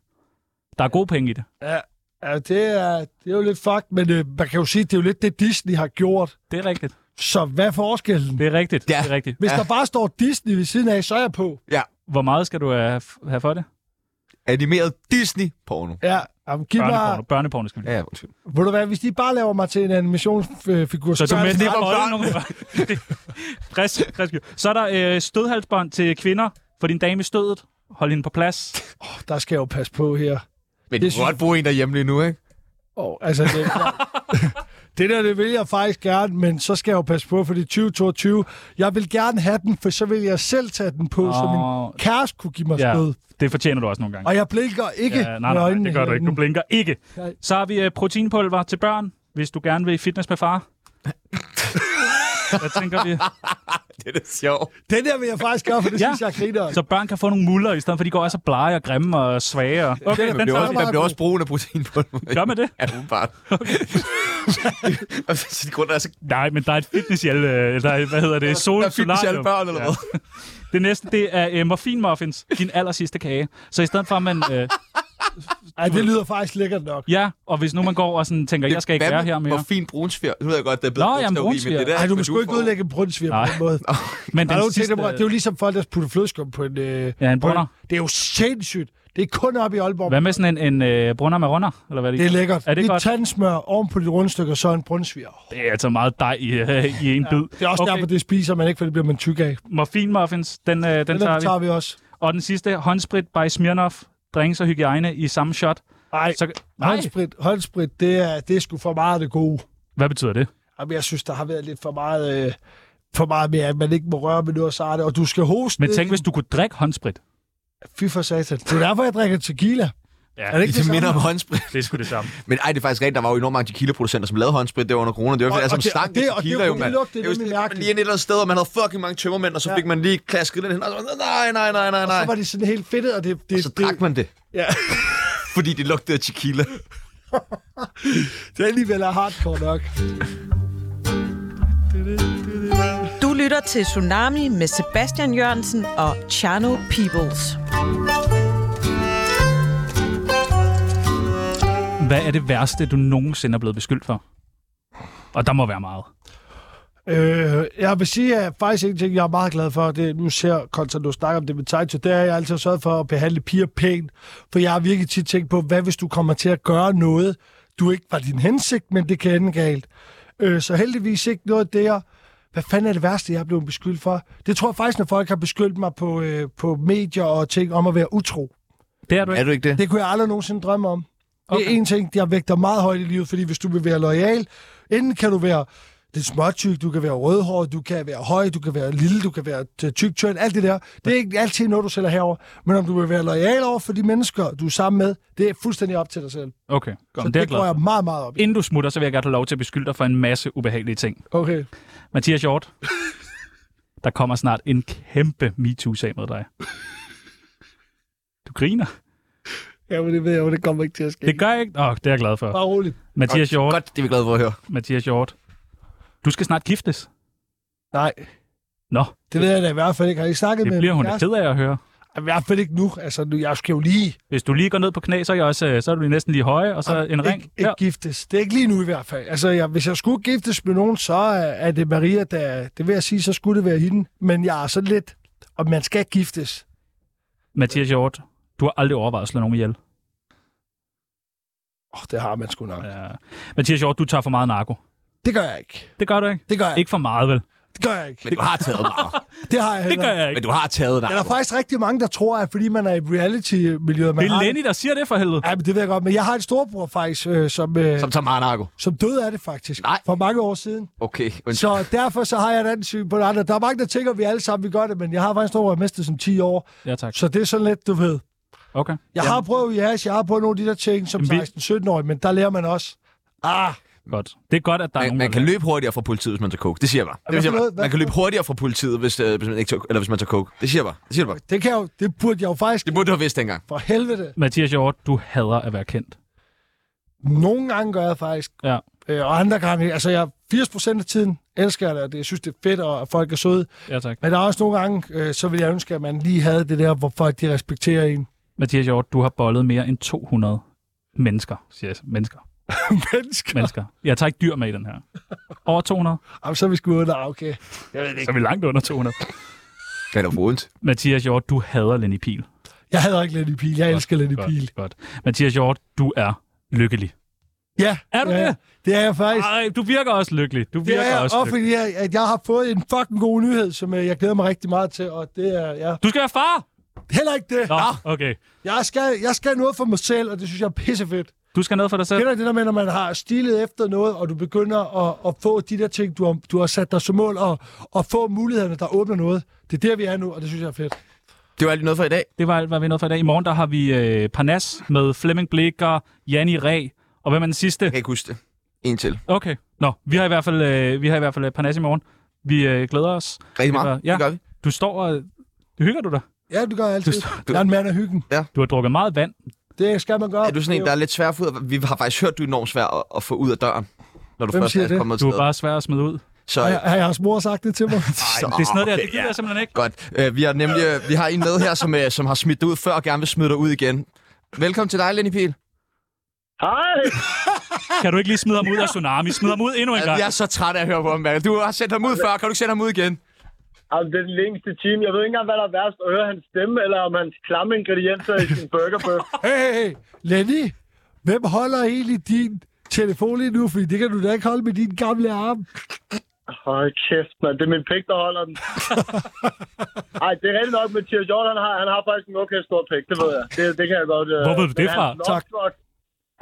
Der er gode penge i det. Ja, ja det, er, det er jo lidt fucked, men øh, man kan jo sige, det er jo lidt det, Disney har gjort. Det er rigtigt. Så hvad er forskellen? Det er rigtigt. Ja. Det er rigtigt. Hvis Ja. ja. der bare står Disney ved siden af, så er jeg på. Hvor meget skal du have, have for det? Animeret Disney-porno. Ja, jamen, giv Børneporno. mig, Børneporno skal vi. Ja, undskyld. ved du hvad, hvis de bare laver mig til en animationsfigur, Så du gør jeg med det. det var nogle Chris, Chris, Så er der øh, stødhalsbånd til kvinder. Få din dame i stødet. Hold hende på plads. der skal jeg jo passe på her. Men du Det kan synes- godt bruge en derhjemme lige nu, ikke? Oh, altså, det, er klart. det der, det vil jeg faktisk gerne, men så skal jeg jo passe på, for det er 2022. Jeg vil gerne have den, for så vil jeg selv tage den på, oh. så Åh. min kæreste kunne give mig Ja, ja. stød. det fortjener du også nogle gange. Og jeg blinker ikke Ja, nej, nej, det gør du ikke. Du blinker ikke. Nej. Så har vi øh, proteinpulver til børn, hvis du gerne vil i fitness med far. Hvad tænker vi? Det er da sjovt. Den der vil jeg faktisk gøre, for det Ja. ja. synes jeg griner. Så børn kan få nogle muller, i stedet for de går også græmme og grimme og svage. og- Okay, Der den bliver, tager også, vi. der bliver også brugen af proteinpulver. Gør man det? Ja, umiddelbart. Okay. Sin grund er så Nej, men der er et fitnesshjælp. Øh, der er, hvad hedder det? Sol, der fitness i alle solarium. børn, eller hvad? Det næste, det er øh, morfinmuffins. Din aller sidste kage. Så i stedet for, at man... Øh, Ej, det lyder faktisk lækkert nok. ja, og hvis nu man går og sådan tænker, jeg skal ikke Hvad være med- her mere. Hvor fint brunsfjer. Nu ved jeg godt, det er Nå, bedre jamen, brunsteori, brunsfjer. det der, Ej, du hvad må sgu ikke får- udlægge en brunsviger på den måde. Men Der er den nogen ting, sidste... der, bruger- det er jo ligesom folk, der putter flødeskum på en... Øh, Ja, en på brunner. Det er jo sindssygt. Det er kun op i Aalborg. Hvad med sådan en, en øh, brunner med runder? Eller hvad Det er lækkert. Er det Lidt godt? tandsmør oven på de rundstykker, så en brunsviger. Det er altså meget dej i, øh, i en bid. Det er også okay. derfor, det spiser man ikke, for det bliver man tyk af. Morfinmuffins, den, øh, Den, den, den tager, vi. vi også. Og den sidste, håndsprit by Smirnoff. Drinks og hygiejne i samme shot. Ej, Så, nej, Håndsprit, håndsprit det, er, det er sgu for meget af det gode. hvad betyder det? Jamen, jeg synes, der har været lidt for meget, øh, for meget med, at man ikke må røre med noget sarte, og du skal hoste. Men ned tænk, i- hvis du kunne drikke håndsprit. Fy for satan. Det er derfor, jeg drikker tequila. Ja, Er det ikke det, Det minder samme? om håndsprit. det er sgu det samme. Men ej, det er faktisk rigtigt. Der var jo enormt mange tequila-producenter, som lavede håndsprit der under corona. Det var Og- faktisk, altså, og man det- stank og af det- og det- tequila, jo, det mand. lugtede Det var nemlig sådan, mærkeligt. Lige ind et eller andet sted, og man havde fucking mange tømmermænd, og så Ja. fik man lige klasket den hen, og så var man, nej, nej, nej, nej, nej. Så var det sådan helt fedt, og det, det, Og så drak man det. Ja. Fordi det lugtede af tequila. det, det alligevel er hardcore nok. Du lytter til Tsunami med Sebastian Jørgensen og Chano Peoples. Hvad er det værste, du nogensinde er blevet beskyldt for? Og der må være meget. Øh, jeg vil sige, at faktisk en ting, jeg er meget glad for, det er, nu ser Konstantin, du snakker om det med Taito, det er, at jeg altid har sørget for at behandle piger pænt, for jeg har virkelig tit tænkt på, hvad hvis du kommer til at gøre noget, du ikke var din hensigt, men det kan ende galt. Øh, så heldigvis ikke noget der. Hvad fanden er det værste, jeg er blevet beskyldt for? Det tror jeg faktisk, når folk har beskyldt mig på, øh, på medier og ting om at være utro. Det er du Er ikke. du ikke det? Det kunne jeg aldrig nogensinde drømme om. Okay. Det er en ting, jeg vægter meget højt i livet, fordi hvis du vil være lojal, enten kan du være lidt småtyk, du kan være rødhåret, du kan være høj, du kan være lille, du kan være t- tyk, tynd, alt det der. Det er ikke altid noget, du sælger herover, men om du vil være lojal over for de mennesker, du er sammen med, det er fuldstændig op til dig selv. Okay, Så godt. det, det er jeg det glad. går for. jeg meget, meget op i. Inden du smutter, så vil jeg gerne have lov til at beskylde dig for en masse ubehagelige ting. Okay. Mathias Hjort, der kommer snart en kæmpe MeToo-sag mod dig. Du griner. Ja, men det ved jeg jo, det kommer ikke til at ske. Det gør jeg ikke. Åh, oh, det er jeg glad for. Bare roligt. Mathias Hjort, Godt, det er vi glade for at høre. Mathias Hjort. Du skal snart giftes. Nej, Nå, det ved jeg da i hvert fald ikke. Har I snakket med det bliver hun min da kæreste? ked af at høre. I hvert fald ikke nu. Altså, nu, jeg skal jo lige Hvis du lige går ned på knæ, så er, jeg også, øh, så er du næsten lige høje, og så en ring. ikke, ikke giftes. Det er ikke lige nu i hvert fald. Altså, jeg, hvis jeg skulle giftes med nogen, så er er det Maria, der... Det vil jeg sige, så skulle det være hende. Men jeg er sådan lidt... Og man skal giftes. Mathias Hjort, du har aldrig overvejet at slå nogen ihjel. Åh, oh, det har man sgu nok. Ja. Ja. Mathias Hjort, du tager for meget narko. Det gør jeg ikke. Det gør du ikke. Det gør jeg ikke. Ikke for meget, vel? Det gør jeg ikke. Men du har taget narko. Det har jeg Det heller gør ikke. jeg Men ikke. du har taget Der er narko. faktisk rigtig mange, der tror, at fordi man er i reality-miljøet, man Det er har... Lenny, der siger det for helvede. Ja, men det ved jeg godt. Men jeg har en storbror faktisk, øh, som, øh, Som som... tager meget narko. som døde af det faktisk. Nej. For mange år siden. Okay, undskyld. Så derfor så har jeg et andet syn på det andre. Der er mange, der tænker, at vi alle sammen vi gør det, men jeg har faktisk en storbror, jeg har mistet som 10 år. Ja, tak. Så det er sådan lidt, du ved. Okay. Jeg har prøvet jazz, jeg har prøvet nogle af de der ting som Jamen, vi- 16-17-årig, men der lærer man også. Ah, Godt. Det er godt, at der er Man, nogen, man der kan vil. løbe hurtigere fra politiet, hvis man tager coke. Det siger jeg bare. Det Hvad siger for jeg noget? bare. Man kan løbe hurtigere fra politiet, hvis, øh, hvis man ikke tager, eller hvis man tager coke. Det siger jeg bare. Det siger jeg bare. det, kan jeg jo, det burde jeg jo faktisk Det burde du have vidst dengang. for helvede. Mathias Hjort, du hader at være kendt. Nogle gange gør jeg faktisk, Ja. øh, og andre gange, altså jeg 80% af tiden elsker jeg det, og det, jeg synes, det er fedt, og at folk er søde. Ja, tak. Men der er også nogle gange, øh, så vil jeg ønske, at man lige havde det der, hvor folk de respekterer en. Mathias Hjort, du har bollet mere end 200 mennesker, siger jeg. Mennesker. Mennesker. Mennesker. Jeg tager ikke dyr med i den her. Over 200. Jamen, så er vi sgu under, okay. Så er vi langt under 200. Det er da ondt. Mathias Hjort, du hader Lenny Pil. Jeg hader ikke Lenny Pil, jeg elsker Lenny Pil. Godt, godt. Mathias Hjort, du er lykkelig. Ja, Er du ja, det? Det er jeg faktisk. Ej, du virker også lykkelig. Du Det virker er jeg, også også lykkelig. fordi jeg, at jeg har fået en fucking god nyhed, som øh, jeg glæder mig rigtig meget til, og det er, ja, Du skal være far! heller ikke det. Ah. Nå, okay. Jeg skal, jeg skal noget for mig selv, og det synes jeg er pissefedt. Du skal noget for dig selv. Kender du det der med, når man har stilet efter noget, og du begynder at, at få de der ting, du har, du har sat dig som mål, og, og få mulighederne, der åbner noget. Det er der, vi er nu, og det synes jeg er fedt. Det var alt lige noget for i dag. Det var alt, hvad vi nåede for i dag. I morgen der har vi øh, Parnas med Flemming Blikker, Janni Ræ, og hvem er den sidste? Jeg kan ikke huske det. En til. Okay. Nå, vi har i hvert fald, øh, vi har i hvert fald øh, Parnas i morgen. Vi øh, glæder os. Rigtig meget. Ja. Det gør vi. Du står og... Hygger du dig? Ja, du gør jeg altid. Du- Jeg er en mand af hyggen. Du har drukket meget vand. Det skal man gøre. Er du sådan en, der er lidt svær at få ud af? Vi har faktisk hørt, du er enormt svær at, at få ud af døren, når du Hvem først siger er det? kommet Du til er bare svær at smide ud. Så, Har, har jeres mor sagt det til så, mig? Det er sådan noget der, det gider jeg simpelthen ikke. Godt. Øh, vi har nemlig øh, vi har en med her, som, øh, som har smidt dig ud før og gerne vil smide dig ud igen. Velkommen til dig, Lenny Pihl. Hej! Kan du ikke lige smide ham ud af Tsunami? Smid ham ud endnu en gang. Jeg er så træt af at høre på ham, mand. Du har sendt ham ud før. Kan du ikke sende ham ud igen? Altså, det er den længste time. Jeg ved ikke engang, hvad der er værst. At høre hans stemme, eller om hans klamme ingredienser i sin burgerbøf. hey, hey, hey. Lenny, hvem holder egentlig din telefon lige nu? Fordi det kan du da ikke holde med din gamle arm. Hold kæft, mand. Det er min pik, der holder den. Ej, det er rigtig nok, Mathias Hjort, han har, han har faktisk en okay stor pik. Det ved jeg. Det, det kan jeg godt... øh, Hvor ved du men det fra? Hans lovflok-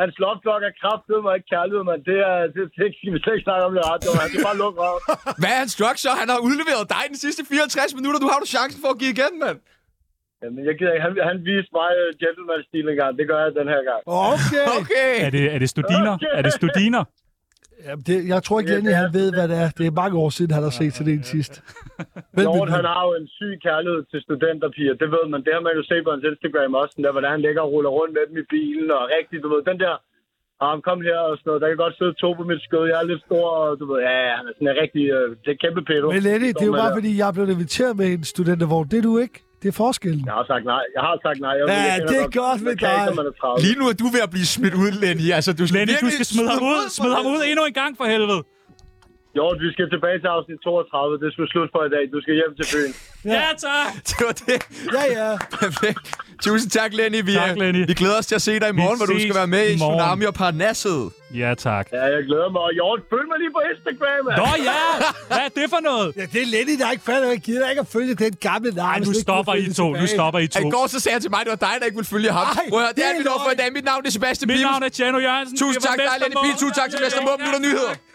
Hans lovflok er kraftedeme mig ikke kærlighed, mand. Det er... Det, det, det skal vi slet ikke snakke om det ret, mand. Det er bare luk røven. Hvad er hans drug så? Han har udleveret dig den sidste 54 minutter. Du har du chancen for at give igen, mand. Jamen, jeg gider ikke. Han, han viste mig uh, gentleman-stil en gang. Det gør jeg den her gang. Okay. Okay. Er det, er det studiner? Er det studiner? Jamen, det, jeg tror ikke, Ja, Lenny det er- han ved, hvad det er. Det er mange år siden, han har set til det en sidst. Vel, Lord, min ven. han har jo en syg kærlighed til studenterpiger. Det ved man. Det har man jo set på hans Instagram også. Den der, hvordan han ligger og ruller rundt med dem i bilen. Og rigtig, du ved, den der... Ah, kom her og sådan noget. Der kan godt sidde to på mit skød. Jeg er lidt stor, og du ved, ja, ja, han er sådan en rigtig... Øh, det er kæmpe pedo. øh, Men Lenny, det er jo Står man bare, der. fordi jeg er blevet inviteret med en studentervogn. Det er du ikke. Det er forskellen. Jeg har sagt nej. Jeg har sagt nej. Jeg Ja, jeg kender det er godt- godt med man kan ikke, dig. når man er 30. Lige nu er du ved at blive smidt ud, Lenny. Altså, du skal, Lenny, du virkelig skal smide ham ud. Smid ham ud endnu en gang for helvede. Jo, vi skal tilbage til afsnit 32. Det skulle slut for i dag. Du skal hjem til Fyn. Ja, tak. Det var det. Ja, ja. Perfekt. Tusind tak, Lenny. Vi, Tak, øh, Lenny. Vi glæder os til at se dig i morgen, hvor du ses skal være med i i morgen. Tsunami og Parnasset. Ja, tak. Ja, jeg glæder mig. Og Jort, følg mig lige på Instagram, mand. Nå ja! Hvad er det for noget? Ja, det er Lenny, der ikke fatter, jeg gider ikke at følge den gamle navn. Ej, nu stopper I to. Nu stopper I I to. går så sagde jeg til mig, at det var dig, der ikke ville følge ham. Ej, Prøv at høre, det det er er vi når for i løgn. dag. Mit navn er Sebastian Mit Pibels. navn er Tjano Jørgensen. Tusind tak, dig, Lenny Pil. Tusind tak til Vestermorgen. Nu er der nyheder.